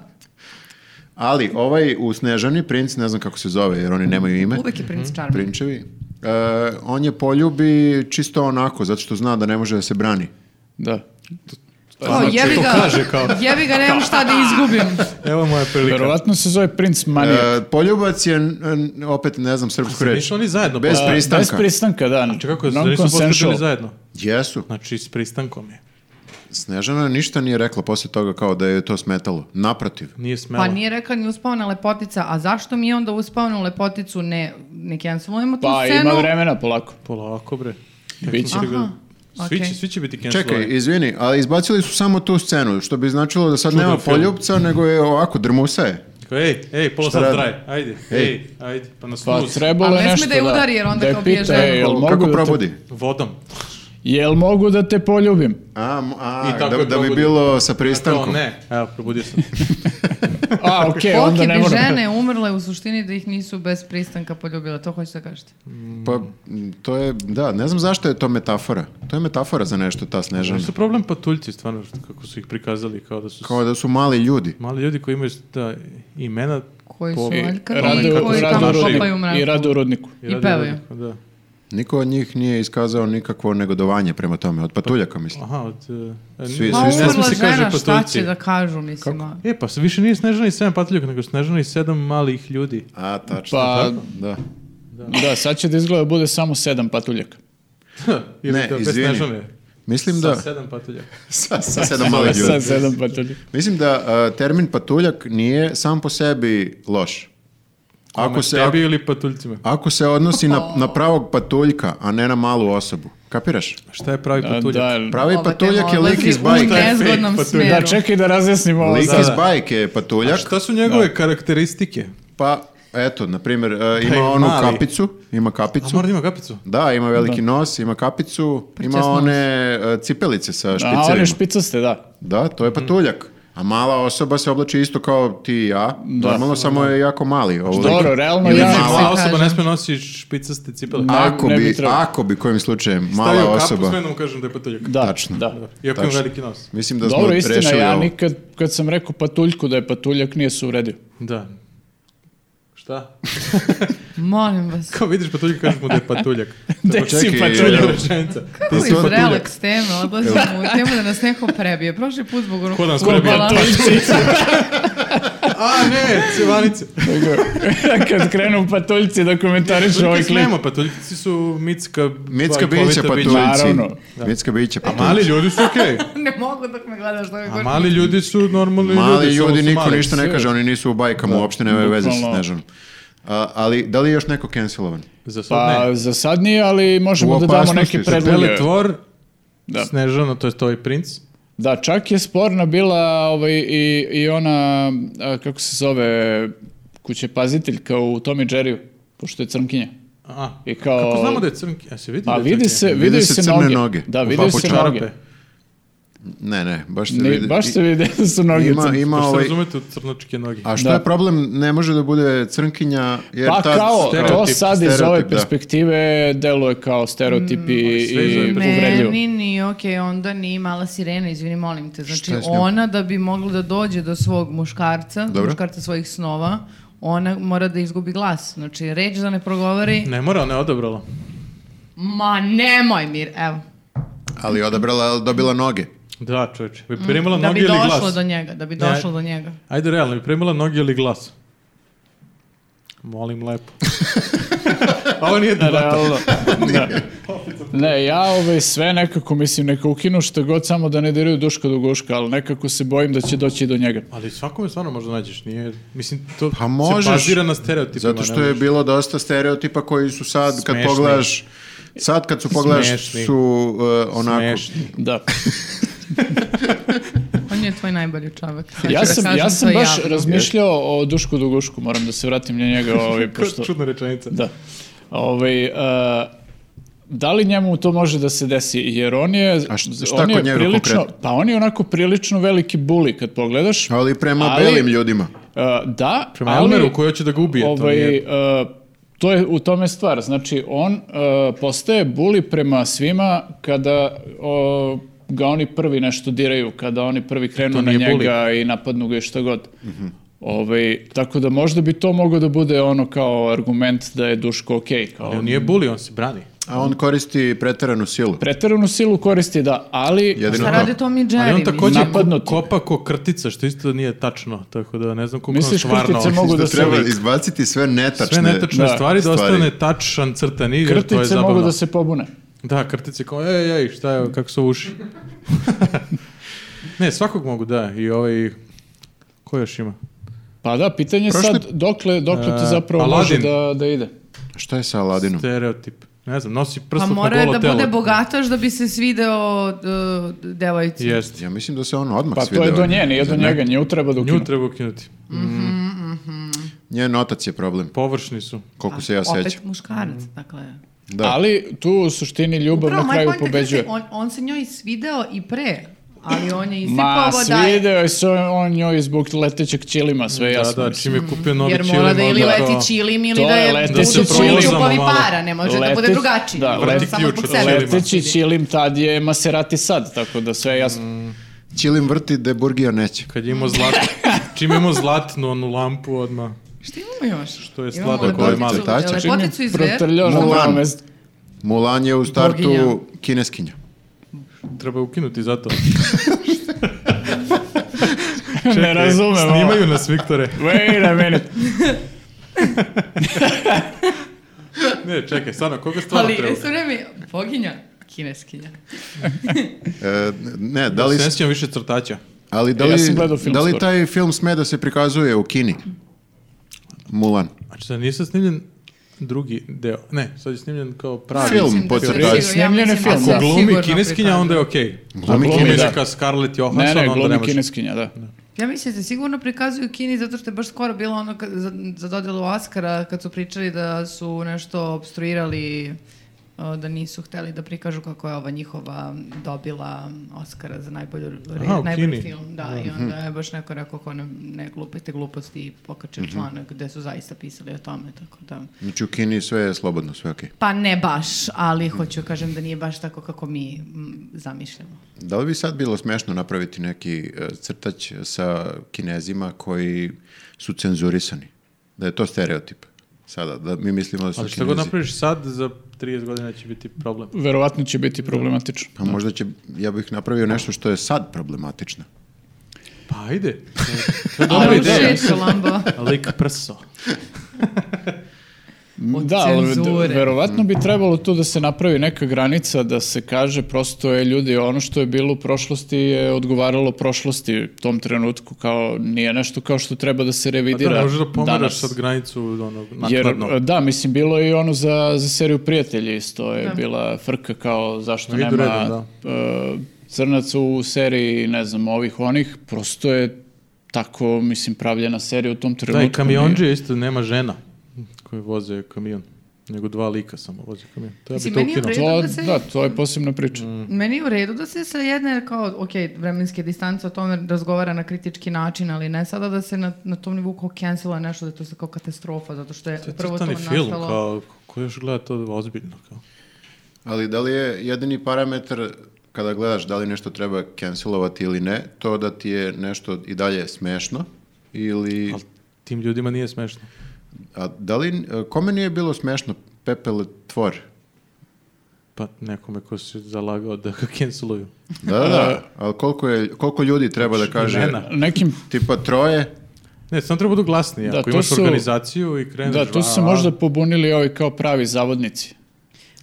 Ali ovaj u Snežani, princ, ne znam kako se zove jer oni nemaju ime,
uvek je
Mhm.
princ Charming.
prinčevi, e, on je poljubi čisto onako, zato što zna da ne može da se brani.
Da.
Kao, Pa,
Znači,
jebi
to
ga,
kaže kao.
jebi ga, nemam šta da izgubim.
Evo moja prilika.
Verovatno se zove princ manija.
E, poljubac je, n- opet ne znam srpsku reč.
Nisu oni zajedno.
Bez
pa-
Da,
pristanka.
Bez pristanka, da.
Čekaj, kako, da nisu
Non-consensual.
postupili zajedno?
Jesu.
Znači, s pristankom je.
Snežana ništa nije rekla posle toga kao da je to smetalo. Naprotiv.
Nije smelo.
Pa nije rekla ni uspavana lepotica, a zašto mi onda uspavanu lepoticu ne, ne cancelujemo tu
Pa
scenu?
ima vremena polako.
Polako, bre.
Biće.
Aha,
Svi, će,
okej.
svi će biti
Čekaj,
cancelovani.
izvini, ali izbacili su samo tu scenu, što bi značilo da sad
Čudan
nema
film.
poljubca, nego je ovako, drmusa je.
Čekaj. Ej, ej, pola
Šta
sat
radi?
traje. Ajde,
Ej.
ej, ajde. Pa nas
Pa
snus.
trebalo
A
je
ne
nešto
sme
da...
da je udari, jer onda
da je
kao biješ
pita,
ženu.
"E, jel mogu
Kako
da te-
probudi?
Vodom.
Jel mogu da te poljubim?
A, m- a,
I tako
da, da
je
bi
probudi.
bilo sa
Kao
pristankom.
ne. Evo, probudio sam.
A, okej, onda
Kolike
ne
bi
moram.
žene umrle u suštini da ih nisu bez pristanka poljubile, to hoćete da kažete.
Pa, m, to je, da, ne znam zašto je to metafora. To je metafora za nešto, ta snežana.
Što su problem patuljci, stvarno, što- kako su ih prikazali, kao da su
Kao da su mali ljudi.
mali ljudi koji imaju ta imena
Koji
Po-
su
Pa, I
aljkavi
rade
i
u-
koji
rade u
tamo
rudniku.
kopaju mrak.
I rade u rudniku.
I
radi
pevaju.
jednako, Da.
Niko od njih nije iskazao nikakvo negodovanje prema tome, od patuljaka mislim.
Aha, od... e, e,
Svi-
ne
Ma
svi-
smije
umrla
se kaže
žena, šta
patuljci.
će da kažu, mislim. ono? a?
E, pa više nije Snežana i 7 patuljaka, nego Snežana i 7 malih ljudi.
A, tačno.
Pa,
Da.
da, sad će da izgleda bude samo sedam patuljaka.
Ili
Ne,
to, bez
izvini.
Snežane.
Mislim da...
Sa 7 patuljaka.
Sa, sa sedam malih ljudi.
Sad sedam patuljaka.
Mislim da a, termin patuljak nije sam po sebi loš. Ako
Kome,
se,
tebi ili patuljcima.
ako se odnosi na, na pravog patuljka, a ne na malu osobu. Kapiraš?
Šta je pravi
Da,
patuljak?
da,
Pravi
Ova
patuljak
tema
pa je lik
odlazi
iz
u
bajke.
nezgodnom
Fake patuljak.
smeru.
pa Da, čekaj da razjasnimo ovo
Lik
sada.
iz bajke je patuljak.
Šta su njegove karakteristike?
Pa, eto, na primjer, e,
Pa
je
ima onu
mali.
kapicu, ima
A
kapicu.
mora da ima kapicu.
Da, ima veliki nos, ima kapicu,
Pa
ima
Prčasno.
one e, cipelice sa
A on
špicerima.
je Mm. špicaste, da.
Da, to je patuljak. A mala osoba se oblači isto kao ti i ja. Normalno samo je jako mali. Ovo
Dobro, realno
Ili
ja-
mala-
Mala
Kaže.
osoba ne smije nositi špicaste cipele.
Ne,
Ako
ne bi
bi,
trebalo.
ako bi kojim slučajem mala
Stavio kapu,
osoba.
sve da mu kažem da je patuljak.
Da,
Tačno.
Da.
Iako ima
Tačno.
veliki nos.
Mislim da smo
Dobro, istina,
rešili
ja
ovo.
nikad, kad sam rekao patuljku da je patuljak, nije se uvredio.
Da. Šta?
Molim vas.
Kao vidiš patuljak, kažeš mu da je patuljak.
Gde
čekaj,
si
Čulja
jel-
patuljak?
rečenica.
Kako iz relax teme, odlazimo u temu da nas neko prebije. Prošli put zbog onog
Ko nas
Ko
prebija?
futbola-
patuljci?
A ne, cevanice.
kad krenu patuljci da komentariš ovaj
Patuljci
klip.
nema, patuljci su mitska...
Mitska
bajkovita
bića pa patuljci.
Naravno.
Mitska bića
A mali
patuljci.
ljudi su okej.
Ne mogu dok me gledaš da mi
A
govorim.
mali ljudi su normalni ljudi.
Mali
samo
ljudi,
su
niko
mali.
ništa ne kaže, oni nisu u bajkama, uopšte nemaju veze sa
bukvalno.
Snežanom. A, ali da li je još neko cancelovan?
Za sad
Pa
ne.
za sad nije, ali
U
možemo da damo
opasnosti
neke
su.
predloge.
Beli tvor,
Da.
Snežana, to je ovaj princ.
Da, čak je sporna bila ovaj, i, i ona, a, kako se zove, kućepaziteljka u Tom i Jerryu, pošto je crnkinja.
A,
I kao-
Kako znamo da je crnki? A se vidi
Pa
da je
vidi
crnki? Pa
se,
Vide
vide,
se
se,
crne
noge.
noge.
Da,
U
vide
papuču
se
Čarape.
noge.
Ne, ne, baš se
Ne,
vidi.
baš se vide da su noge
Ima,
crne.
ima
Baš se
ovaj...
razumete u crnočke noge.
A što
Da.
je problem? Ne može da bude crnkinja, jer
Pa
tad...
kao, to
stereotip,
sad iz ove
stereotip, da.
perspektive deluje kao stereotip i,
Mm, sve iz ove
i uvredljivo.
Meni ni, okej, onda ni mala sirena, izvini, molim te. Znači,
Šta je s njom?
ona da bi mogla da dođe do svog muškarca,
Dobro.
muškarca svojih snova, ona mora da izgubi glas. Znači, reč da ne progovori,
Ne mora, ona je odabrala.
ma nemoj mir, evo.
Ali je odabrala, dobila noge.
Da, čovječe. Bi primila
Mm, da
noge
bi
ili
došlo
glas?
do njega, da bi
Ne.
došlo do njega.
Ajde, realno, bi primila noge ili glas? Molim lepo. Ovo nije debata.
Realno. Da. Ne, ja ovaj sve nekako, mislim, neka ukinu što god samo da ne diraju Duška do Guška, ali nekako se bojim da će doći i do njega.
Ali svakome stvarno možda nađeš, nije... Mislim, to
Pa možeš,
se bazira na stereotipima.
Zato što
ne
je
možeš.
bilo dosta stereotipa koji su sad,
Smešni.
kad pogledaš, sad kad su pogledaš,
Smešni.
su uh, onako...
Smešni.
Da.
On je tvoj najbolji čovjek. sad ću
Ja
da
sam,
kažem
ja sam
to
baš
javno.
razmišljao o Dušku do Gušku, moram da se vratim na njega. Ovaj, pošto,
Čudna rečenica.
da. Ovaj, eh, da li njemu to može da se desi? Jer on je...
A š- šta
on je
kod njega
prilično,
konkretno?
Pa on je onako prilično veliki buli kad pogledaš.
Ali prema
Ali-
belim ljudima.
Eh, da,
Prema
ali...
Elmeru, koji hoće da ga ubije, to
ovaj,
nije...
e, to je u tome stvar. Znači, on e, postaje buli prema svima kada o, ga oni prvi nešto diraju, kada oni prvi krenu
To
na
nije bully. Mhm.
njega i napadnu ga i što god. Ovaj, tako da možda bi to moglo da bude ono kao argument da je Duško okej. kao
Ali on nije buli, on se brani.
A on koristi preteranu silu.
Preteranu silu koristi, da, ali...
Jedino
Šta
to.
radi Tom i Jerry?
Ali on također
Napadnuti.
kopa ko krtica, što isto nije tačno, tako da ne znam koliko on
Misliš
stvarno...
krtice mogu da se...
Treba izbaciti sve netačne,
Sve netačne
Da.
stvari, da
stvari.
ostane tačan crtan igr, to je
Krtice
zabavno.
mogu da se pobune.
Da, krtice kao, ej, ej, šta je, kako su uši. ne, svakog mogu, da, i ovaj, ko još ima?
Pa da, pitanje je
Prošli-
sad dokle, dokle to
E,
zapravo može
Aladin.
da, da ide.
Šta je sa Aladinom?
Stereotip. Ne znam, nosi
Pa
prstot na
mora je
golo
da
telo.
bude bogataš da bi se svideo uh, devojci.
Jeste.
Ja mislim da se on odmah
Pa to
svideo.
je do nje, nije do njega, nju treba da ukinu.
Nju treba ukinuti.
Njen otac je problem,
Površni su.
koliko se ja
Opet
sećam.
muškarac, dakle.
Da.
Ali tu u suštini ljubav
Upravo,
na
moj
kraju
point je da
pobeđuje.
se on, on se njoj svideo i pre, ali on
Ma,
je isipao da je...
svideo je se on njoj zbog letećeg ćilima, sve je jasno.
da, da, čim je kupio novi
Jer
čilim,
mora da ili
onda
leti
to-
čilim ili
to
da
je
je
leti
budu
se
čili
prozamo
ljubavi
malo.
para, ne može da bude
Letić-
drugačije.
da,
Može
leti
samo zbog
ključ od
sebe.
čilima.
Leteći čilim tad je Maserati sad, tako da sve je jasno.
Mm.
Čilim vrti de Burgija neće.
Kad je imao zlatnu, čim je imao zlatnu onu lampu odmah.
Šta imamo još?
Što je
Imamo
sladak,
lepoticu-
ovo je mali. Tačak.
Lepoticu i zver.
Protrljao na
Mulan.
prvo mesto.
Mulan je u startu
Boginja.
kineskinja.
Treba je ukinuti zato.
Ne razumem. ovo.
E, Snimaju nas, Viktore.
Wait a minute.
Ne, čekaj, stvarno, koga stvarno
Ali, e,
treba?
sve vreme, boginja, kineskinja.
E, ne, da li,
Ne sjećam više crtaća.
ali da
Ja
li,
sam gledao film
da li
skoro.
taj film sme da se prikazuje u Kini? Mulan.
Znači da nisam snimljen drugi deo. Ne, sad je snimljen kao pravi.
Film,
Mislim da se
potrtač.
sigurno-
Snimljen je
ja mislim da
film.
se
Ako glumi
sigurno
kineskinja,
prikazuje.
onda je okej.
Glumi
Ako
Kines-
neka Scarlett Johansson,
Ne, ne,
onda ne
glumi
može.
kineskinja, da.
Ja mislim da se sigurno prikazuju u Kini zato što je baš skoro bilo ono kad- za, za dodjelu Oscara kad su pričali da su nešto obstruirali o, da nisu hteli da prikažu kako je ova njihova dobila Oscara za najbolju, re-
Aha, u
najbolji
Kini.
film. Da, i
Mhm.
onda je baš neko rekao ko ne, ne glupajte gluposti i pokačio
Mhm.
članak gde su zaista pisali o tome. Tako da.
Znači u Kini sve je slobodno, sve je okej.
Pa ne baš, ali hoću kažem da nije baš tako kako mi mm, zamišljamo.
Da li bi sad bilo smešno napraviti neki e, crtač sa kinezima koji su cenzurisani? Da je to stereotip sada, da mi mislimo da su
Ali šta god
kinezi.
napraviš sad, za 30 godina će biti problem.
Verovatno će biti problematično.
Pa možda će, ja bih napravio nešto što je sad problematično.
Pa ajde. To je dobra
Ali
ideja.
šećer, Lambo.
Lik prso.
Od
Da, ali
cenzure.
d- verovatno
Mm.
bi trebalo tu da se napravi neka granica, da se kaže prosto je ljudi, ono što je bilo u prošlosti je odgovaralo prošlosti u tom trenutku, kao nije nešto kao što treba da se
Pa da,
revidira
ne možeš da pomeraš
danas.
sad granicu ono, onog
Jer,
nakladno.
e, da, mislim, bilo je i ono za, za seriju Prijatelji isto je
Da.
bila frka kao zašto
Na vidu
nema
redom,
e, crnaca u seriji, ne znam, ovih onih, prosto je tako, mislim, pravljena serija u tom trenutku.
Da, i
nije-
kamionđe isto nema žena koji voze kamion. Nego dva lika samo voze kamion. To ja bi
Mislim,
to
meni je
ukinuo.
vredno-
To,
Da se-
da, to je posebna priča.
Mm.
Meni je u redu da se sa jedne, kao, ok, vremenske distance o tome razgovara na kritički način, ali ne sada da se na, na tom nivou kao cancela nešto, da je to sad kao katastrofa, zato što je
To je
upravo to
crtani
nastalo.
film, kao, ko još gleda to ozbiljno, kao.
Ali da li je jedini parametar kada gledaš da li nešto treba cancelovati ili ne, to da ti je nešto i dalje smešno ili...
Ali tim ljudima nije smešno.
A da li, kome nije bilo smešno Pepele tvor?
Pa Pa nekome ko se zalagao da ga canceluju.
Da, da, da. Ali koliko, je, koliko ljudi treba da kaže?
imena.
Nekim
Tipa troje?
Ne, samo treba budu glasni.
Da,
Ako
to
imaš
su-
organizaciju i kreneš...
Da, tu su se
"A,
možda pobunili ovi kao pravi zavodnici.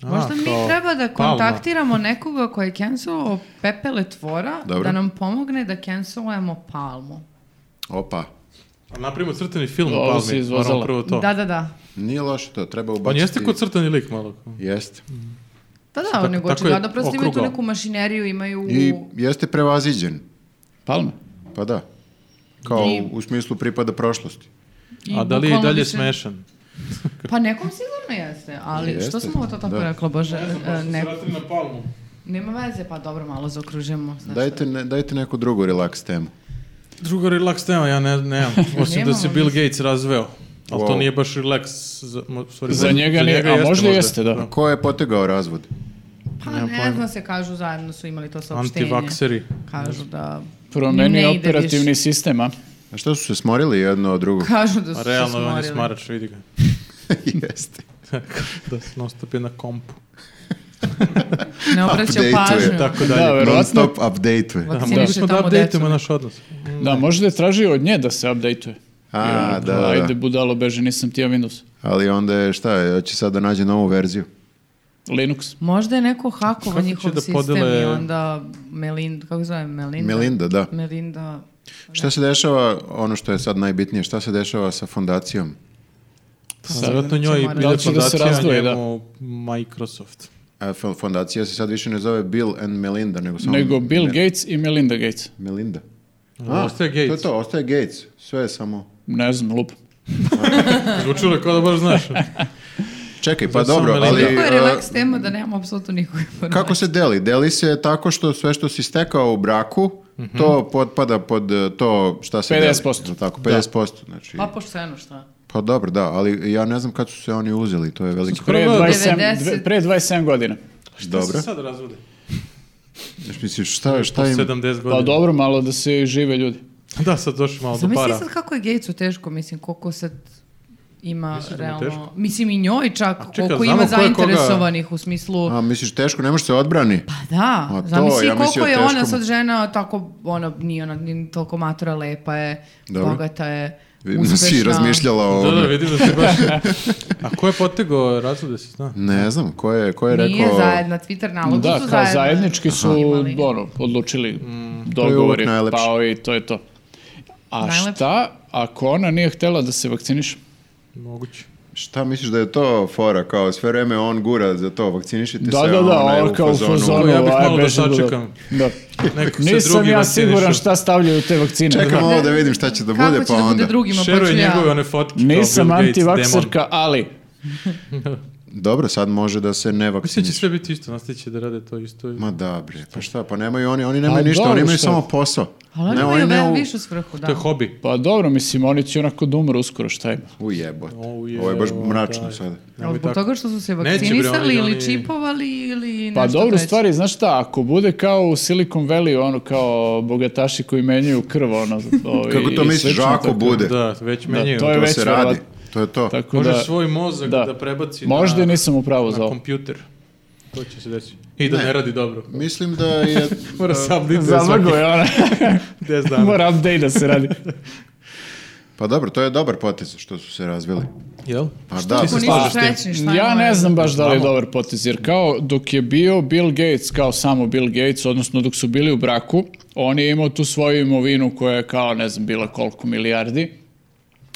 a,
Možda mi
kao
treba da
Palma."
kontaktiramo nekoga koji je cancelovao Pepele Tvora
Dobro.
da nam pomogne da cancelujemo Palmu.
Opa.
A napravimo crtani film
Ovo
o
si
Palmi,
izvozala.
moramo prvo to.
Da, da, da.
Nije loše to, treba ubaciti.
On Pa jeste kod crtani lik malo.
Jeste.
Pa Da, da,
Tako-
nego
tako je
očigledno prosto imaju tu
okrugao.
neku mašineriju, imaju...
I jeste prevaziđen.
Palma?
Pa da. Kao
I-
u smislu pripada prošlosti.
i
A da li je i
bukvalno
dalje
više-
smešan?
Pa nekom sigurno jeste, ali što
Jeste.
smo to tako
Da.
rekla, Bože, e, ne,
na Palmu.
nema veze, pa dobro, malo zaokružujemo. znaš
Dajte, ne, dajte neku drugu relaks temu.
Druga relax tema, ja ne, nemam. Osim da
Nemamo
se Bill
ništa.
Gates razveo. Ali to
Wow.
nije baš relax. Za, mo- sorry,
Za njega nije, a možda jeste, da.
Ko je potegao razvod?
Pa
Nema
ne
pojma.
znam se, kažu zajedno su imali to saopštenje.
Antivakseri.
Kažu da...
Promeni
ne ide
operativni
više.
sistem, a?
A šta su se smorili jedno od drugog?
Kažu da su se
A Pa realno on je
smorili.
smarač, vidi ga.
jeste.
da se nostop je na kompu.
Ne obraćao
Updateuje.
pažnju.
Tako
Da,
dalje. Da,
Non
verovatno.
stop update.
Da.
da,
Vakcinišu
mogli smo da
tamo decu,
updateujemo
ne?
naš odnos.
Da, možda je tražio od nje da se update-uje.
A,
I,
da, da.
Ajde, budalo, beže, nisam ti ja Windows.
Ali onda je šta, je, hoće sad da nađe novu verziju.
Linux.
Možda je neko hakovo
Kako će
njihov
da
sistem
podele-
i onda Melinda, kako se zove Melinda?
Melinda, da.
Melinda,
Šta se dešava, ono što je sad najbitnije, šta se dešava sa fondacijom?
Sad
Pa Zato njoj
ćemo
Da
ide
li će da se
fondacija,
razdvoje, da.
njemu Microsoft.
A fo- fondacija se sad više ne zove Bill and Melinda, nego samo...
Nego Bill
Me-
Gates i Melinda Gates.
Melinda.
A, ostaje
To
Gates.
je to, ostaje Gates. Sve je samo...
Ne znam, lup.
Zvučilo je kao da baš znaš.
Čekaj, pa
Zato samo
dobro, ali...
Melinda.
Kako je
e,
relaks tema da nemamo apsolutno nikog informacija.
Kako se deli? Deli se tako što sve što si stekao u braku,
Mhm.
to potpada pod e, to šta se
50%.
deli. 50%. Tako, 50%. Znači,
Pa pošteno šta?
pa dobro, da, ali ja ne znam kad su se oni uzeli, to je veliki...
Pre
Prvo
27,
90.
dve- pre 27 godina. Pa
Dobro.
sad razvode?
Znaš, misliš, šta,
Po
šta im...
70
Pa
godina.
dobro, malo da se žive ljudi.
Da, sad došli malo do
Zamisli
para.
sad kako je Gatesu teško, mislim, koliko sad ima
Misliš da mu je
realno...
teško?
Mislim i njoj čak,
čekaj,
koliko
znamo
ima
ko je koga-
zainteresovanih u smislu...
A, misliš, teško, ne može se odbrani?
Pa da,
A to,
zamisli
ja
koliko
mislio
je
teško
ona
mu.
sad žena tako, ona nije ona ni toliko matura, lepa je,
Dobro.
bogata je,
Vidim da
uspešna.
si razmišljala o
Da, da,
ovome.
vidim da se baš... A ko je potegao razvode, se zna?
Ne znam, ko je, ko je rekao...
Nije zajedna, Twitter nalog
Da,
su
kao
zajedno.
zajednički su
Imali.
ono, odlučili
Mm.
To je
dogovori,
uvek najlepše.
pao i to je to. A
Najlepše.
šta ako ona nije htela da se vakciniše?
Moguće.
Šta misliš da je to fora, kao sve vreme on gura za to, vakcinišite se,
Da, da,
a
da,
ona je
on kao u fazonu.
Ja bih
aj,
malo da
beži budala.
sačekam.
Da.
Nek se
Nisam
drugi
ja
vakcinišu.
siguran šta stavljaju u te vakcine.
Čekam ovo da vidim šta će da
Kako
bude,
će
pa
da
onda...
bude drugima, pa ću
Šeruje
ja.
njegove one fotke. kao
Nisam
Bill Gates, demon.
antivakserka, ali
Dobro, sad može da se ne
Mislim da će
vakciniš.
sve biti isto, nastavi će da rade to isto.
Ma da bre, pa šta, pa nemaju oni, oni nemaju
A
ništa,
dobro,
oni imaju
šta?
samo posao.
Ali oni
Ne,
imaju
ne
ve-
u-
višu svrhu, da.
To je hobi.
pa dobro, mislim, oni će onako da umru uskoro, šta ima?
U jebote.
O, je,
Ovo je baš
o,
mračno
daj.
sada.
Ali
Nemoj
zbog
tako.
toga što su se
bre, oni-
vakcinisali ili
oni-
čipovali ili
Pa
nešto
dobro, u
treće.
stvari, znaš šta, ako bude kao u Silicon Valley, ono kao bogataši koji menjaju krv, ono, ovi,
Kako to
i
misliš,
slično,
žako
tako-
bude?
Da, već
Da,
menjaju.
to je
To
već
se radi,
verovatno.
to je to.
Tako
Možeš
da,
svoj mozak
da.
da, prebaci
možda i
na,
nisam upravo za
na
ovo.
kompjuter. To će se desiti. I da ne,
Ne.
radi dobro.
Mislim da je...
Mora se update svaki
Zamago je ona,
10 dana.
mora update da se radi.
Pa dobro, to je dobar potez što su se razvili.
Jel?
Pa da,
Ako nisu
Pa,
srećni, šta
ja
ima
ne
veze?
znam baš da li je dobar potez, jer kao dok je bio Bill Gates, kao samo Bill Gates, odnosno dok su bili u braku, on je imao tu svoju imovinu koja je kao, ne znam, bila koliko milijardi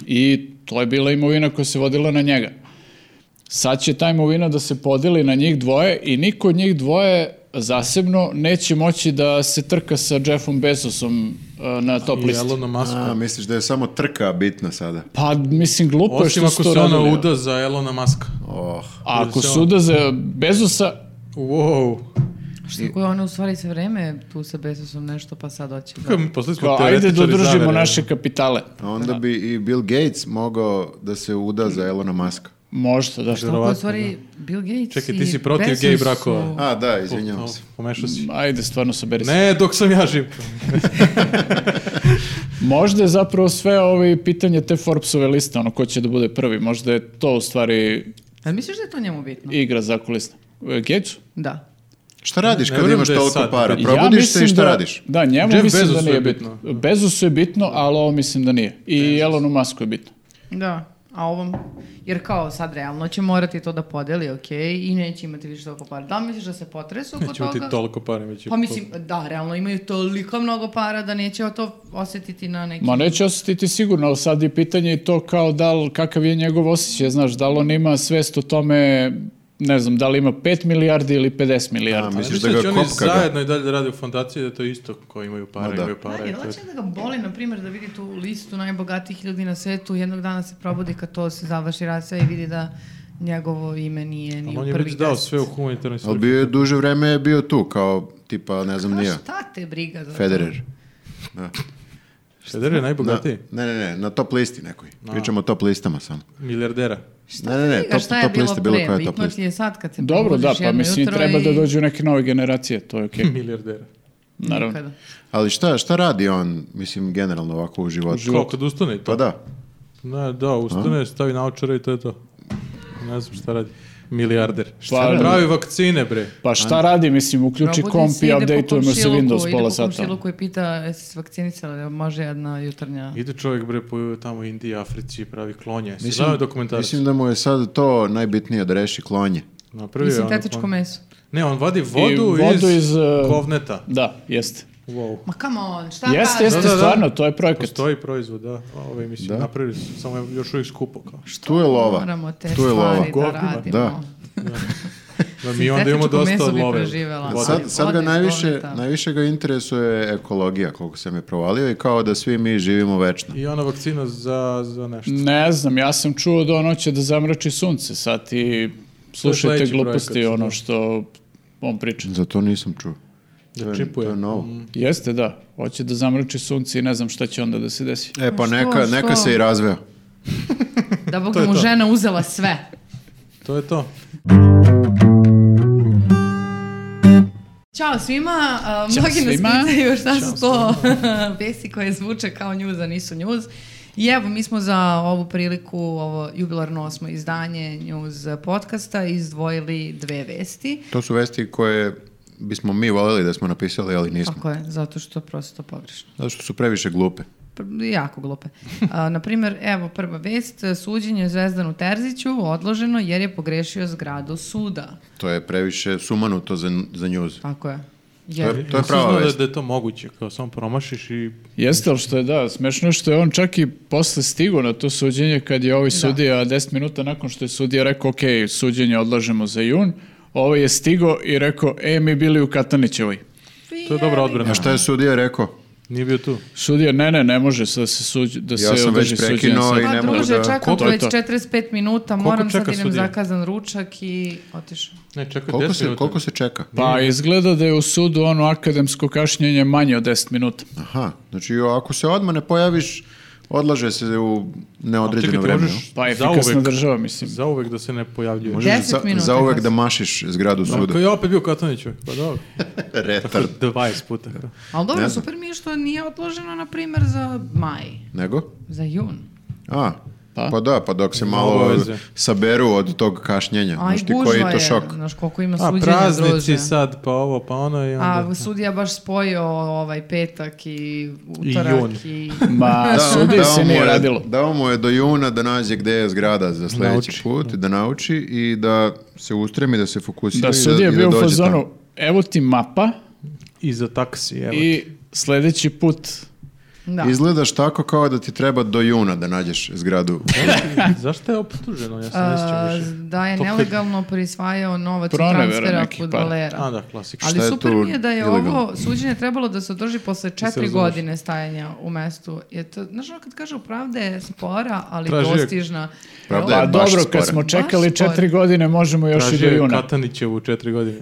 i to je bila imovina koja se vodila na njega. Sad će ta imovina da se podeli na njih dvoje i niko od njih dvoje zasebno neće moći da se trka sa Jeffom Bezosom e, na top
I
listi.
Elona Musk.
A, misliš da je samo trka bitna sada?
Pa, mislim, glupo je
Osim
što su
ako
to
se ona ono,
radili.
uda za Elona Muska.
Oh,
A ako
se
se
ona-
uda za Bezosa,
Wow.
Što je ona u stvari sve vreme tu sa Bezosom nešto pa sad hoće. da-
Kako mi postali smo
Kao, ajde da
teoretičari
održimo
zavere.
naše kapitale.
a onda bi i Bill Gates mogao da se uda za Elona Muska.
Možda, da.
Kako u
Verovatno,
stvari Bill Gates
Čekaj,
i
ti si protiv
Bezos
gej brakova.
su-
A, da,
O,
izvinjavam
o,
se.
Pomešao si.
Ajde, stvarno saberi se.
Ne, dok sam ja živ.
Možda je zapravo sve ovo pitanje te Forbesove liste, ono ko će da bude prvi. Možda je to u stvari
A misliš da je to njemu bitno?
igra za kulisne. E, Gatesu?
Da.
Šta radiš
Ne
kad
vjerujem
imaš
da je
toliko
sad
para?
bitno.
Ja
Pa Probudiš se
mislim
i šta
da-
radiš?
Da, njemu
Jeff
mislim da
Bezosu
nije
je
bitno. Bezosu je bitno, ali ovo mislim da nije. I Elonu Masku je bitno.
Da. A ovom, jer kao sad realno će morati to da podeli, ok, i neće imati više toliko para. Da li misliš da se potresu oko
Nećemo ti
toga?
toliko pare, već je-
Pa mislim, da, realno imaju toliko mnogo para da neće to osjetiti na neki...
Ma neće osjetiti sigurno, ali sad je pitanje i to kao da li, kakav je njegov osjećaj, znaš, da li on ima svest o tome, ne znam, da li ima 5 milijardi ili 50
A,
milijardi.
Pa mislim- Misliš
Misliš
da
Pa
ga
da, će oni
kopka ga?
zajedno i dalje da rade u fondaciji da je to isto koji imaju
Ma
pare,
da.
imaju pare.
Da,
i
je
to je-
da ga boli, na primjer, da vidi tu listu najbogatijih ljudi na svetu, jednog dana se probudi kad to se završi racija i vidi da njegovo ime nije ni
Ali
u
on
prvih
je već dao
deset.
sve u humanitarnoj
Ali
svrhi.
bio je duže vreme je bio tu, kao tipa, ne znam,
Pa
nija.
šta te briga za to?
Federer.
Federer je
Na,
najbogatiji
ne, ne, ne, na top listi nekoj. Pričamo o top listama samo.
milijardera.
Šta
Ne, ne,
te
ne,
briga
top-
šta je
top
bilo
liste, bilo
pre?
koja je top
Bitno
lista.
ti je sad kad se
Dobro, da,
probudiš
pa
jedno
mislim
jutro
treba
i
da dođu neke nove generacije, to je
Hm.
okej.
Milijardera.
Naravno.
nikada.
Ali šta, šta radi on, mislim, generalno ovako u životu?
Kao kad ustane i to.
Pa da.
Ne, da, ustane, stavi naočare i to je to. Ne znam šta radi. Milijarder. Šta
radi?
Pravi vakcine, bre.
Pa šta radi, mislim, uključi
Probudi
komp
se,
i
ide po
updateujemo se
komšiluku,
Windows pola
Ide po
sata.
komšiluku i pita jesi se vakcinisala, jel može jedna jutarnja.
Ide čovjek, bre, po tamo u Indiji, Africi, pravi klonje. Si
Mislim-
znao dokumentarac?
Mislim da mu je sad to najbitnije da reši klonje.
Napravio je
Mislim,
ono
tetičko
klon-
meso.
Ne, on vadi vodu,
vodu
iz,
iz, eh,
govneta.
Da, jeste.
Pa
Wow.
Ma come on, šta
Jeste,
kažeš?
jeste,
Da, da, da.
stvarno, to je projekat.
Postoji proizvod, da. Ove, mislim, napravili su, samo je još uvijek skupo. Kao.
Tu je lova.
Moramo te
Tu je lova.
stvari da
Govnima.
radimo.
Da.
Da mi onda imamo
Sintetičko
dosta
meso bi
love.
preživela.
Vode.
Sad,
Vode
sad ga
iz
najviše,
govneta.
najviše ga interesuje ekologija, koliko sam je provalio, i kao da svi mi živimo večno.
I ona vakcina za, za nešto.
Ne znam, ja sam čuo da on hoće da zamrači sunce, sad ti slušajte
sledeći
gluposti
projekat,
ono
da.
što on priča.
Za to nisam čuo. To
Da
je-
čipuje.
To je novo.
Jeste, da, hoće da zamrači sunce i ne znam šta će onda da se desi.
E, pa
što,
neka, neka
što?
se i razveo.
Da Bog
To je
mu
to.
žena uzela sve.
To je to.
Ćao svima, a,
Ćao
mnogi nas
svima.
pitaju šta su to vesti koje zvuče kao njuz, a nisu njuz. I evo, mi smo za ovu priliku, ovo jubilarno osmo izdanje njuz podcasta izdvojili dve vesti.
To su vesti koje bismo mi voljeli da smo napisali, ali nismo.
Tako je, zato što je prosto pogrešno.
Zato što su previše glupe.
Pr- Jako glupe. A, naprimjer, evo prva vest, suđenje Zvezdanu Terziću odloženo jer je pogrešio zgradu suda.
To je previše sumanuto za, za njuz.
Tako je.
To
Jer,
je, to je
Nisam znao
prava
da-
vest.
Da je to moguće, kao samo promašiš i...
Jeste, ali što je da, smešno je što je on čak i posle stigo na to suđenje kad je ovaj sudija, 10 minuta nakon što je sudija rekao, ok, suđenje odlažemo za jun, ovaj je stigo i rekao, e, mi bili u Katanićevoj.
To je dobra odbrana.
A šta je sudija rekao?
Nije bio tu.
Sudija, ne, ne, ne može sad da se, suđ, da
Ja
se
sam
održi
već
suđenje.
prekinuo
sad.
i
Pa
ne mogu
druže,
da...
čakam
To
to
je
već
to.
45 minuta,
Koliko
moram sad
čeka
idem
sudija?
zakazan ručak i otišao.
Ne, čekaj,
Koliko
10
se,
minuta.
koliko se čeka?
Pa izgleda da je u sudu ono akademsko kašnjenje manje od 10 minuta.
Aha, znači ako se odmah ne pojaviš, odlaže se u neodređeno
Čekaj, ti
vreme.
možeš
Pa efikasna
zauvek-
država, mislim.
Zauvek da se ne pojavljuje.
Možeš
Deset
za,
minuta,
zauvek
Kas.
da mašiš zgradu
Da,
suda.
Kao ja opet bio u Kataniću. Pa dobro.
Retard.
20 puta. kao.
Ali
Ne
dobro,
znam.
super mi je što nije odloženo, na primjer, za maj,
Nego?
za jun.
A,
Pa?
pa, da, pa dok se
Ima
malo
obaveze.
saberu od tog kašnjenja.
Aj,
Znaš ti koji
gužva
to
je,
šok?
znaš koliko ima
A
suđenja, druže.
praznici sad, pa ovo, pa ono i onda...
A sudija baš spojio ovaj petak i utorak
jun.
i...
Ma, sudi
dao
se
mu
nije
je-
radilo.
Dao mu je do juna da nađe gde je zgrada za sljedeći
Nauči.
put, da nauči i da se ustremi, da se fokusira.
Da
i
sudija je
i
bio u
dođe
fazonu,
tamo.
evo ti mapa
I za taksi, evo. I...
i sledeći put
Da.
Izgledaš tako kao da ti treba do juna da nađeš zgradu.
Zašto je optuženo? Ja sam ne sjećam
A,
više.
E, da je
To kad-
nelegalno prisvajao novac od
Pronevera
transfera
nekih para.
futbolera.
A da, klasika.
Ali
Šta je
super
tu
mi je da je
ilegalno?
ovo suđenje trebalo da se održi posle četiri
razumeš?
godine stajanja u mestu. Je to, znaš ono kad kažu pravda je spora, ali
Traži je-
dostižna.
Pravda
Evo,
Pa
je baš
dobro,
spora.
kad smo čekali
Baš spora.
četiri godine, možemo još i
Tražio
do
je
juna.
Katanićevu četiri godine.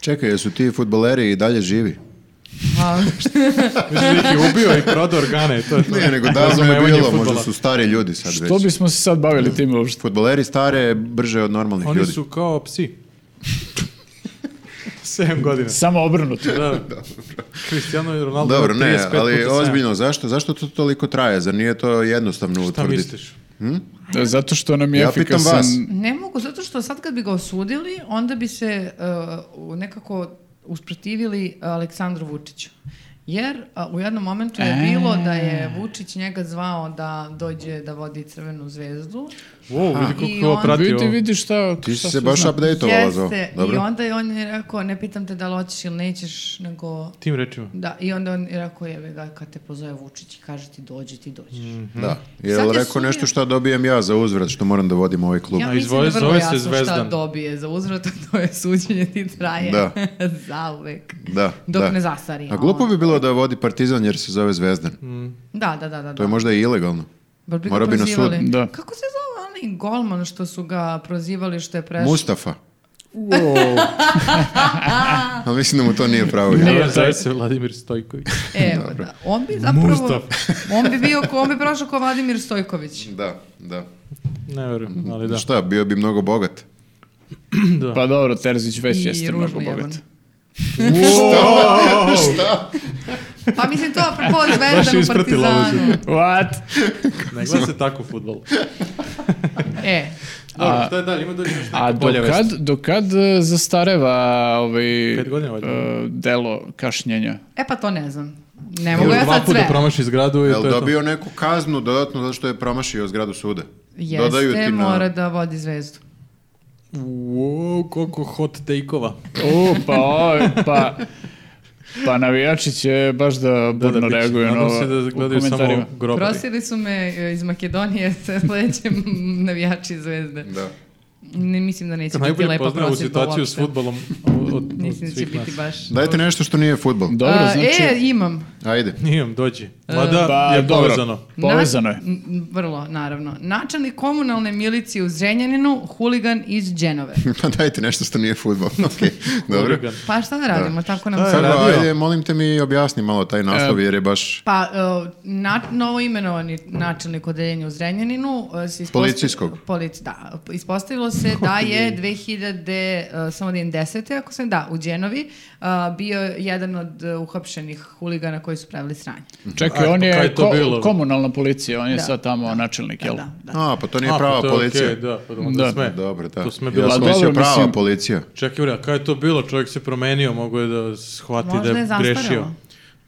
Čekaj, jesu ti futboleri i dalje živi?
a,
Mislim da ih je ubio i prodao organe. i To je to.
Ne, nego davno je
Razumevanje
bilo, možda
fudbala.
su stari ljudi sad
Što
već.
bismo se sad bavili tim uopšte?
Futboleri stare brže od normalnih
Oni
ljudi.
su kao psi. 7 godina.
Samo obrnuto.
Da. Cristiano Ronaldo
Dobro,
ima
ne,
35
ali
puta sedam.
ozbiljno, zašto? Zašto to toliko traje? Zar nije to jednostavno
Šta
utvrditi?
misliš?
Zato što nam je
Ja pitam
efikasan...
vas.
Ne mogu, zato što sad kad bi ga osudili, onda bi se uh, nekako usprotivili Aleksandru Vučiću. Jer uh, u jednom momentu je
E.
bilo da je Vučić njega zvao da dođe da vodi crvenu zvezdu.
Wow, vidi koliko
I
je ovo
on-
pratio.
Vidi, vidi šta,
Ti
šta
si
sve
se baš
zna.
update-ovala za ovo.
Jeste, i
Dobro.
onda je on je rekao, ne pitam te da li hoćeš ili nećeš, nego...
Tim rečima.
Da, i onda on je rekao, jeve ga, kad te pozove Vučić i kaže ti dođi, ti dođeš.
Mm.
Da.
Sad
Hm?
Jel
je
rekao
sumnja-
nešto šta dobijem ja za uzvrat što moram da vodim ovaj klub?
Ja
A
mislim da
izvoli,
je vrlo
Ono, zove se
jasno šta
Zvezdan.
dobije za uzvrat, a to je suđenje ti traje
Da.
zauvek.
Da,
Dok
da.
ne zastari.
A glupo
onda.
bi bilo da vodi Partizan jer se zove Zvezdan.
Da, da, da, da.
To je možda i ilegalno.
Bar bi ga
morao bi na sud.
prozivali.
Da.
Kako se zove onaj golman što su ga prozivali što je prešao?
Mustafa. Ali mislim da mu to nije pravo ime.
Ne, ja, zove se Vladimir Stojković.
Evo, da. On bi zapravo...
Mustafa.
on bi bio, ko- on bi prošao kao Vladimir Stojković.
Da, da.
Ne verujem, ali da.
Šta, bio bi mnogo bogat.
da.
Pa dobro, Terzić već
I
jeste mnogo
ružni
bogat.
jeban. Pa mislim to apropo
Baš je
Zvezdan u
ispratila ovu
Partizanu.
What?
Ne gleda se tako futbol.
E,
Dobro, šta je dalje? Ima dalje nešto
A
neka
do
bolja vest.
kad, do kad e, zastareva ovaj,
Pet godina, valjda.
e, delo kašnjenja?
e pa to ne znam. Ne
Još
mogu ja
dva
sad
puta
sve.
promaši zgradu i
Jel
to je to.
dobio neku kaznu dodatno zato što je promašio zgradu suda? Dodaju
Jeste,
ti na-
mora da vodi zvezdu.
Wow, koliko hot take-ova.
U, pa, ovaj, pa, pa navijači će baš da burno
bit će.
reaguju na
Nadam
ovo
se da
u
gledaju
komentarima.
samo grobari.
Prosili su me e, iz Makedonije sa sledećem navijači zvezde.
Da.
Ne mislim da neće biti
Najbolje
lepa
poznaje ovu
prosjedba
situaciju s
uopšte.
futbolom od, od, od
Mislim da će
svih nas.
biti baš...
Dajte nešto što nije futbol.
Dobro,
A,
znači,
E, imam.
Ajde.
Nijem, dođi.
E.
Mada
pa,
je
dobro,
povezano.
Povezano je.
Na- m, vrlo, naravno. Načelnik komunalne milicije u Zrenjaninu, huligan iz Dženove.
Pa dajte nešto što nije futbol. Ok, dobro.
Huligan.
Pa šta da radimo, tako nam se...
Sad, pa,
radio?
ajde, molim te mi objasni malo taj naslov jer je baš
Pa, e, na, novo imenovani načelnik odeljenja u Zrenjaninu e, se ispostavi-
Policijskog?
Polic, da, ispostavilo se da je 2000, e, samo da im desete, ako sam, da, u Đenovi, e, bio jedan od e, uhapšenih huligana koji su pravili sranje.
Čekaj,
A,
on
pa
je,
kaj je
ko-
to bilo?
komunalna policija, on je
Da,
sad tamo načelnik, jel?
Da, da.
A, pa to nije
A, pa
prava
to je
policija.
okej, da, pa onda
Da.
sme.
Dobro, da.
To sme
ja
bilo
sam
Pa
sve.
dobro,
mislio prava
mislim-
policija.
Čekaj, bre, a kaj je to bilo? Čovjek se promenio, mogo je da shvati
Možda
da
je
je
zastarelo.
grešio.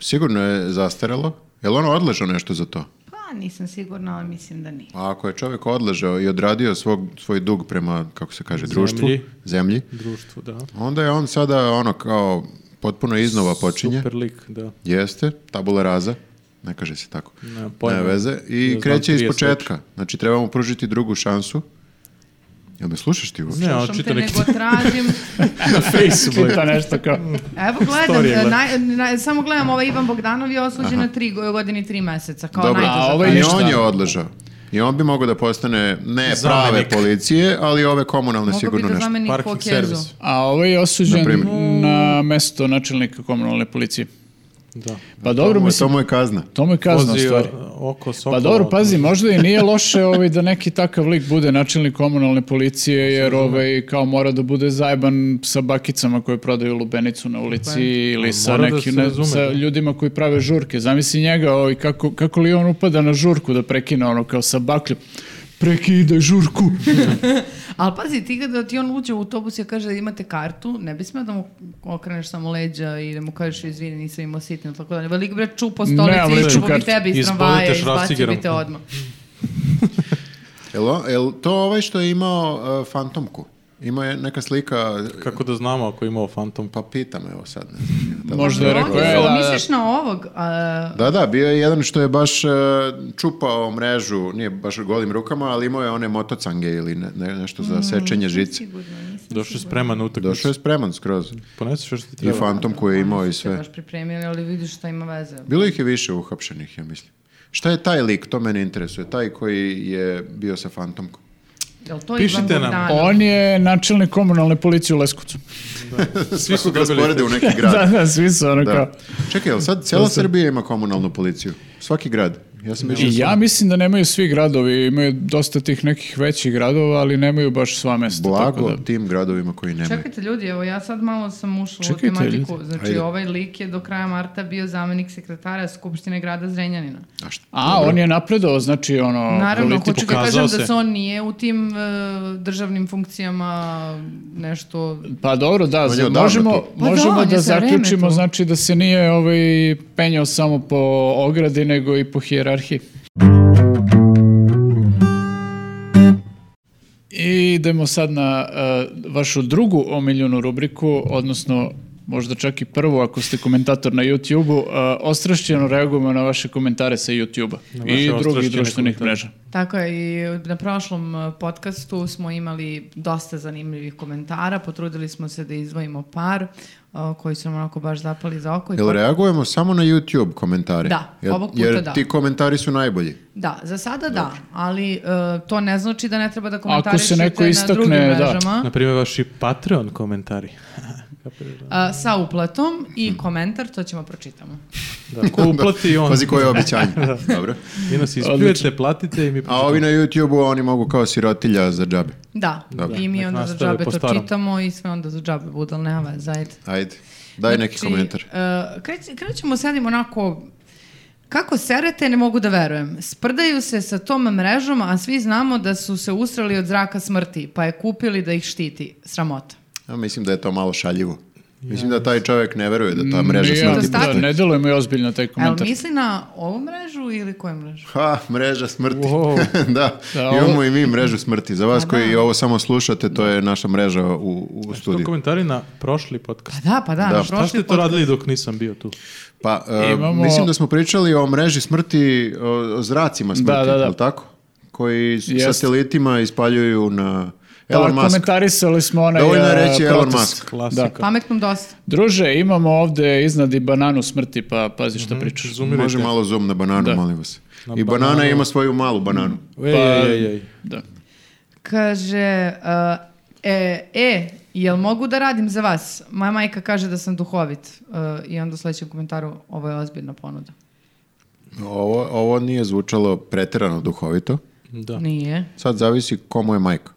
Sigurno je zastarelo. Je li ono odležao nešto za to?
Pa, nisam sigurna, ali mislim da nije.
A ako je čovjek odležao i odradio svog, svoj dug prema, kako se kaže, društvu,
Zemlji.
zemlji,
Društvo, da.
onda je on sada ono kao potpuno iznova počinje.
Super lik, da.
Jeste, tabula raza, ne kaže se tako.
Ne,
Ne
pojma.
veze. I
Ja znam
kreće iz
30
početka. Znači, treba mu pružiti drugu šansu. Jel me slušaš ti uopće?
Ne,
Slušam
očito
te,
neki
nego tražim...
Na Facebooku. Čita nešto kao...
Evo gledam,
Story,
e,
le.
naj, naj- samo gledam, ovaj Ivan Bogdanov je osuđen na tri go- godine i tri meseca, kao
Dobro,
najteža
A ovaj
i
ništa.
on je odležao. I on bi mogao da postane ne
Zamenik.
prave policije, ali ove komunalne
Mogao bi
sigurno
da
nešto.
zameni
parking
Kokezu.
servis.
A ovaj je osuđen
Naprimjer.
na mesto načelnika komunalne policije.
Da.
Pa dobro,
Ovo je
mislim,
samo je kazna.
to mu je kazna u
Vozio
stvari.
oko sokola.
Pa dobro, pazi, možda i nije loše ovaj, da neki takav lik bude načelnik komunalne policije, jer ovaj, kao mora da bude zajeban sa bakicama koje prodaju lubenicu na ulici ili sa,
mora da
nekim,
se
ne-
razume,
sa
da.
ljudima koji prave žurke. Zamisli njega, ovaj, kako, kako li on upada na žurku da prekine ono kao sa bakljom. Prekidaj žurku.
Ali pazi, ti kada ti on uđe u autobus i kaže da imate kartu, ne bi smio da mu okreneš samo leđa i da mu kažeš izvini, nisam imao sitno, tako da velik bre čupo
Nemam
stolici,
ličnu
iščupo bi
kartu.
tebe iz
Ispalite
tramvaja, izbacio
šrafcigerom.
bi te odmah.
Jel, o- jel to ovaj što je imao e, fantomku? Ima je neka slika,
Kako da znamo ako je imao fantom? Pa
pa pitam evo sad. Ne znam, je li tako?
Možda je rekao,
Onda,
e, da, da.
misliš na ovog, a,
Da, da, bio je jedan što je baš e, čupao mrežu, nije baš golim rukama, ali imao je one motocange ili ne- ne- nešto za sečenje žice.
Sigurno nisam.
došao je spreman na utakmicu.
Došao je spreman skroz.
Poneseš još ti
I
treba.
fantom koji je imao i
se
sve.
baš pripremili, ali vidiš šta ima veze.
Bilo ih je više uhapšenih, ja mislim. Šta je taj lik, to mene interesuje, taj koji je bio sa fantomkom.
Jel to
Pišite
Ivan
nam.
Bogdanov?
On je načelnik komunalne policije u Leskovcu.
Svi
Kako
su
ga
dobili.
rasporede u neki grad.
da, da, svi su ono kao...
Da. Čekaj, jel sad cijela Srbija ima komunalnu policiju? Svaki grad? Ja sam mislio
I
da
ja
su
mislim da nemaju svi gradovi, imaju dosta tih nekih većih gradova, ali nemaju baš sva mesta. tako
blago
da-
tim gradovima koji nemaju.
Čekajte ljudi, evo ja sad malo sam ušla
Čekajte,
u tematiku. Znači
Ajde.
ovaj lik je do kraja marta bio zamenik sekretara Skupštine grada Zrenjanina.
A šta-
A, on je napredovao, znači ono...
Naravno,
politiku-
hoću da
Pokazao
kažem
se.
da se on nije u tim e, državnim funkcijama nešto...
Pa dobro, da,
je odavno
možemo,
tu.
Pa da,
možemo
on
da,
je za vreme
zaključimo,
tu.
znači da se nije ovaj, penjao samo po ogradi, nego i po hijerarhiji. I idemo sad na eh, vašu drugu omiljenu rubriku, odnosno možda čak i prvu ako ste komentator na YouTube-u, eh, ostrašćeno reagujemo na vaše komentare sa YouTube-a
Na vaše
i drugih
ostrašćene
društvenih
komentare.
mreža.
Tako je, i na prošlom e, podcastu smo imali dosta zanimljivih komentara, potrudili smo se da izdvojimo par e, koji su nam onako baš zapali za oko. i
Jel reagujemo samo na YouTube komentare?
Da,
Jel-
ovog puta
jer
da.
ti komentari su najbolji.
Da, za sada da, ali e, to ne znači da ne treba da
Ako se
komentarišete
neko istakne,
na drugim
da.
mrežama
Naprimjer, vaši Patreon komentari.
a, e, sa uplatom
Hm.
i komentar, to ćemo pročitamo.
Da, ko uplati on.
Pazi koje je obećanje. Dobro.
Vi nas ispljujete, platite i mi...
A ovi na YouTube-u oni mogu kao sirotilja za džabe.
Da, i mi
Nek
onda za
nastave
džabe
po
to
starom.
čitamo i sve onda za džabe budal, nema veze, ajde.
Ajde, daj neki
Znači,
komentar.
e, kreć- krećemo sad im onako, kako serete, ne mogu da verujem. Sprdaju se sa tom mrežom, a svi znamo da su se usrali od zraka smrti, pa je kupili da ih štiti. Sramota.
Ja mislim da je to malo šaljivo. Mislim da taj čovjek ne veruje da ta mreža
Ja,
smrti
Da
da,
stavi.
postoji.
ne deluje mi ozbiljno taj
Jel
komentar.
misli na ovu mrežu ili koju mrežu?
Ha, mreža smrti.
Wow.
da,
Da, ovo-
imamo i mi mrežu smrti. Za
Pa
vas koji ovo samo slušate, to je naša mreža u, u
To
studiju.
komentari na prošli podcast.
Pa da, pa da,
Da.
na
Šta
prošli
ste to
podcast.
radili dok nisam bio tu?
Pa, e,
Imamo-
mislim da smo pričali o mreži smrti, o, o zracima smrti,
Da, da, da.
jel tako? Koji s-
Jest.
satelitima ispaljuju na Elon
Pa,
Musk.
komentarisali smo onaj
Dovoljno je
e,
reći Elon
protest.
Musk.
Klasika.
Pametnom dosta.
Druže, imamo ovde iznad i bananu smrti, pa pazi
Mhm,
šta pričaš.
Zumirite.
Može malo zoom na bananu,
Da.
molim vas.
Na
I banana
bananu.
ima svoju malu bananu.
Ej,
Pa-
ej, ej, ej.
Da.
Kaže, uh, e, e, jel mogu da radim za vas? Moja majka kaže da sam duhovit. Uh, I onda u sledećem komentaru, ovo je ozbiljna ponuda.
Ovo, ovo nije zvučalo preterano duhovito.
Da.
Nije.
Sad zavisi komu je majka.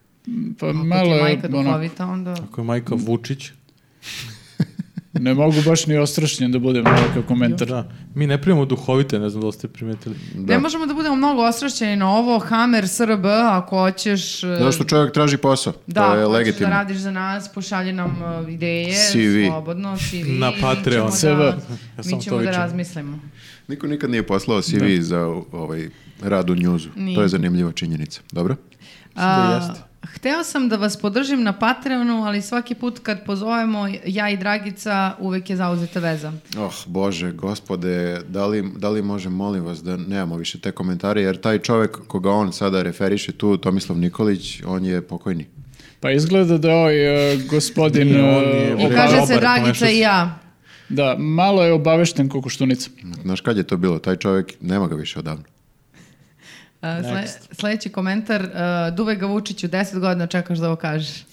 Pa
Ako ti
malo
je
je,
majka
ono,
duhovita, onda...
Ako je majka Vučić,
ne mogu baš ni ostrašnjen da budem na ovakav komentar.
da. Mi ne primamo duhovite, ne znam da li ste primetili.
Ne možemo da budemo mnogo osrašćeni na ovo, Hamer, SRB, ako hoćeš... e,
Zato što čovjek traži posao.
Da,
to je
ako hoćeš
legitimno.
da radiš za nas, pošalji nam e, ideje,
CV.
slobodno, CV.
Na
mi
Patreon.
ćemo
CV.
Da,
Ja samo
mi
to
ćemo da
vičem.
razmislimo.
Niko nikad nije poslao CV za ovaj rad u njuzu.
Nije.
To je zanimljiva činjenica. Dobro?
da
A,
jeste.
Hteo sam da vas podržim na Patreonu, ali svaki put kad pozovemo ja i Dragica, uvek je zauzeta veza.
Oh, Bože, gospode, da li, da li može, molim vas, da nemamo više te komentare, jer taj čovjek koga on sada referiše tu, Tomislav Nikolić, on je pokojni.
Pa izgleda da je ovaj e, gospodin...
Nije, on
e,
nije,
I
bre.
oba-
kaže
dobar,
se
pa nešto
Dragica
si-
i ja.
Da, malo je obavešten ko koštunica.
Znaš kad je to bilo? Taj čovjek, nema ga više odavno.
A, E, sle- sledeći komentar, uh, duvaj ga Vučiću, 10 godina čekaš da ovo kažeš.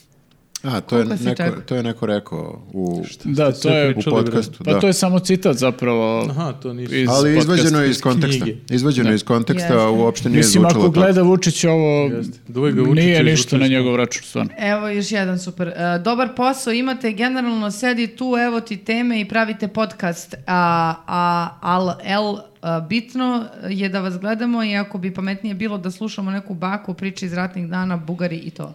A, to je,
Koliko si
neko,
čekao?
to je neko rekao u,
Da, to
sve
je...
u
Pričali, bre.
podcastu.
Pa
da.
to je samo citat zapravo.
Aha, to nisu.
Iz
Ali
podcasta.
izvađeno je iz
iz
konteksta.
knjige.
Izvađeno je iz konteksta,
Jeste.
uopšte nije
Mislim,
zvučalo
ako
tako.
gleda Vučić ovo,
Jeste. Duvaj ga Vučiću
nije
i
ništa na
izvučili smo.
njegov račun, stvarno.
Evo još jedan super. E, dobar posao imate, generalno sedi tu, evo ti teme i pravite podcast. A, a, al, el, a, bitno je da vas gledamo i ako bi pametnije bilo da slušamo neku baku priče iz ratnih dana, Bugari i to.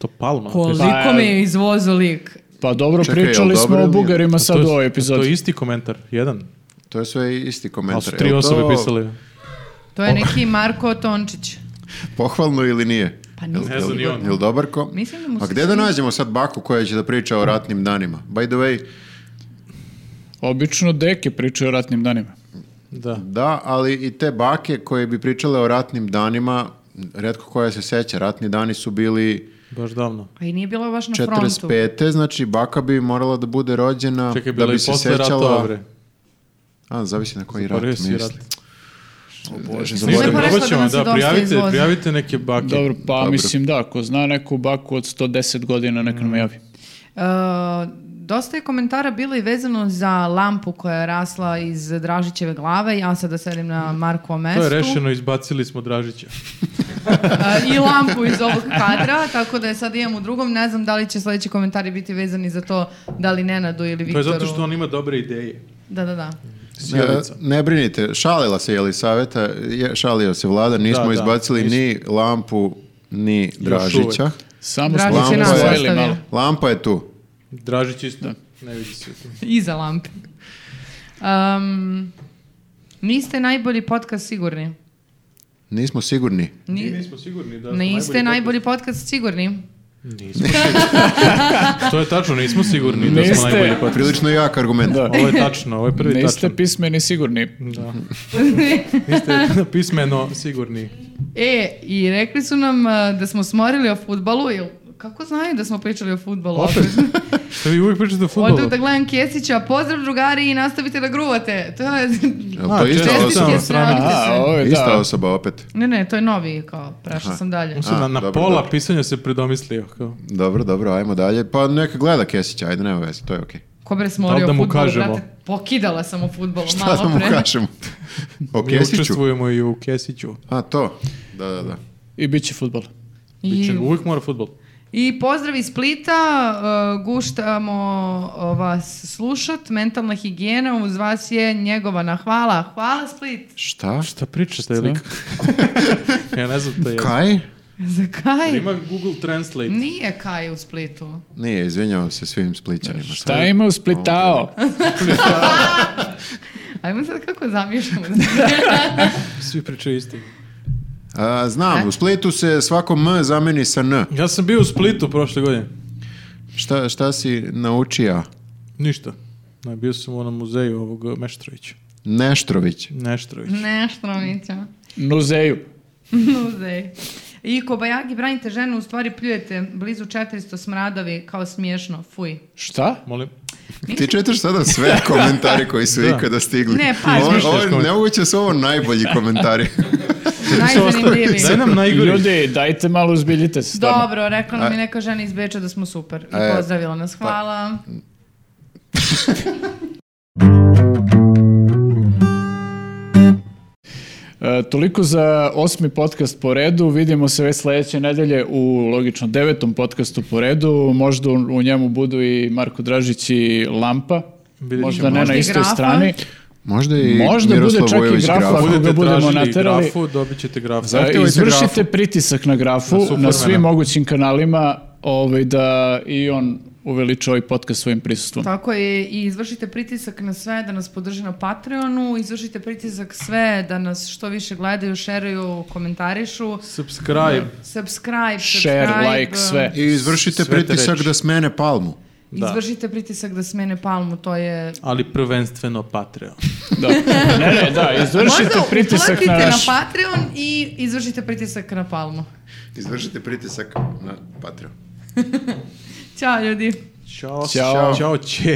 To Palma.
Koliko Pa- me
e.
je
izvozo lik.
Pa dobro,
Čekaj, jel
pričali
dobro
smo o
ili nije?
Bugarima sad u ovoj
To je
epizodi.
isti komentar, jedan.
To je sve isti
Ali
komentar.
su
Jel
tri osobe
to
pisali.
To je neki Marko Tončić.
Pohvalno ili nije?
Pa nije.
Ne znam ni on.
Jel dobar kom?
Mislim da mu
A
se
gde da
čini-
nađemo sad baku koja će da priča o ratnim danima? By the way,
Obično deke pričaju o ratnim danima.
Da.
da, ali i te bake koje bi pričale o ratnim danima, redko koja se seća, ratni dani su bili
Baš davno.
Pa i nije bilo baš na frontu.
45. Znači, baka bi morala da bude rođena
Čekaj,
da
bilo
bi
i
se
posle
sećala...
ratova, bre.
A, zavisi na koji rat Znači,
Prvi si
misli.
rat.
O Bože,
Ništa,
Lepo
zaboravim.
rekla
probat
da
ćemo,
nas je
da,
dosta
prijavite,
izvoza.
prijavite neke bake.
Dobro, pa
Dobro.
Mm.
mislim da, ako zna neku baku od 110 godina, nek nam javi.
E, Dosta je komentara bilo i vezano za lampu koja je rasla iz Dražićeve glave. Ja sada sedim na Markovom mestu.
To je rešeno, izbacili smo Dražića.
I lampu iz ovog kadra, tako da je sad imam u drugom. Ne znam da li će sledeći komentari biti vezani za to da li Nenadu ili
To je
Viktoru.
zato što on ima dobre ideje.
Da, da, da.
Ne,
Sjelica.
ne brinite, šalila se Jelisaveta, je, šalio se vlada, nismo
Da, da,
izbacili
nismo.
ni lampu, ni Dražića.
uvek.
Samo
Dražić
smo
je nas
osvojili
ostavio.
malo.
Lampa je tu.
Dražić isto. Ne vidi se tu.
Iza lampe. Um, niste najbolji podcast sigurni.
Nismo sigurni.
Ni-
Mi nismo sigurni da smo
niste najbolji podcast sigurni.
Nismo sigurni. to je tačno, nismo sigurni da smo
Niste.
najbolji podcast.
Prilično jak argument.
Da.
Ovo je tačno, ovo je prvi
Niste
tačan.
pismeni sigurni.
Da. Niste pismeno sigurni.
E, i rekli su nam uh, da smo smorili o futbalu. Jel, kako znaju da smo pričali o futbalu?
Opet. Što vi uvijek pričate o
Odu
futbolu.
da gledam Kesića, pozdrav drugari i nastavite da gruvate. To je...
Jel to je ista
čestitam.
osoba?
Čestitke. strana.
Aha, ovo je
Ista
da.
osoba opet.
Ne, ne, to je novi, kao, prešla sam dalje.
On se na,
A,
na
dobro,
pola
dobro.
pisanja se predomislio. Kao.
Dobro, dobro, ajmo dalje. Pa neka gleda Kesića, ajde, nema veze, to je okej.
Ko bre smorio
Da li da mu
o futbolu,
kažemo?
brate, pokidala sam o futbolu
Šta da
malo
mu
pre.
kažemo? O
Mi
Kesiću?
učestvujemo i u Kesiću.
A, to. Da, da, da.
I bit će futbol.
I,
Biće, uvijek mora futbol.
I pozdrav iz Splita, uh, guštamo uh, vas slušat, mentalna higijena, uz vas je njegovana. Hvala, hvala Split.
Šta?
Šta priča taj lik? ja ne znam to je.
Kaj?
Za Kaj?
Ima Google Translate.
Nije Kaj u Splitu.
Nije, izvinjavam se svim splićanima.
Šta ima u Splitao?
Ajmo sad kako zamišljamo.
Svi pričaju isto.
A, znam, u Splitu se svako M zameni sa N.
Ja sam bio u Splitu prošle godine.
Šta, šta si naučija?
Ništa. Ne, bio sam u onom muzeju ovog Meštrovića.
Neštrović.
Neštrović.
Nešto neća.
Nuzeju.
Muzej. I Kobajagi branite ženu, u stvari pljujete blizu 400 smradovi, kao smiješno, fuj.
Šta?
Molim.
Ti čitaš sada sve komentare koji su ikada stigli.
Ne, pa,
Ovo-
izmišljaš
ovo je
komentar.
Nemoguće su ovo najbolji komentari.
Najzanimljiviji.
Daj nam najgori.
Ljudi, dajte malo uzbiljite se. stvarno.
Dobro, rekla nam je neka žena iz Beča da smo super. I
E,
pozdravila nas,
pa-
hvala.
E, toliko za osmi podcast po redu. Vidimo se već sledeće nedelje u logično devetom podcastu po redu. Možda u, u njemu budu i Marko Dražić i Lampa.
Vidjet
Možda
ćemo.
ne
Možda
na
i
istoj
Grafa.
strani.
Možda i
Možda bude
Miroslav
čak i
Vujović
Grafa.
Grafa.
Ako ga
Budete
budemo
tražili
naterali-
grafu, dobit ćete grafu.
E,
Zahtevajte
izvršite
grafu.
pritisak na grafu
Na
na,
Supermana.
svim mogućim kanalima ovaj, da i on uveliča ovaj podcast svojim prisustvom.
Tako je, i izvršite pritisak na sve da nas podrži na Patreonu, izvršite pritisak sve da nas što više gledaju, šeruju, komentarišu,
Subscribe.
subscribe, subscribe.
Share, like, sve.
I izvršite
Sve te
pritisak
reči.
da smene palmu.
Da.
Izvršite pritisak da smene palmu, to je...
Ali prvenstveno Patreon.
Da. Ne, ne, da, izvršite
Možda
pritisak
uplatite
na
na
naš...
Patreon i izvršite pritisak na palmu.
Izvršite pritisak na Patreon.
Ćao ljudi!
Ćao.
Ćao.
Ćao. Ćao. Ćao.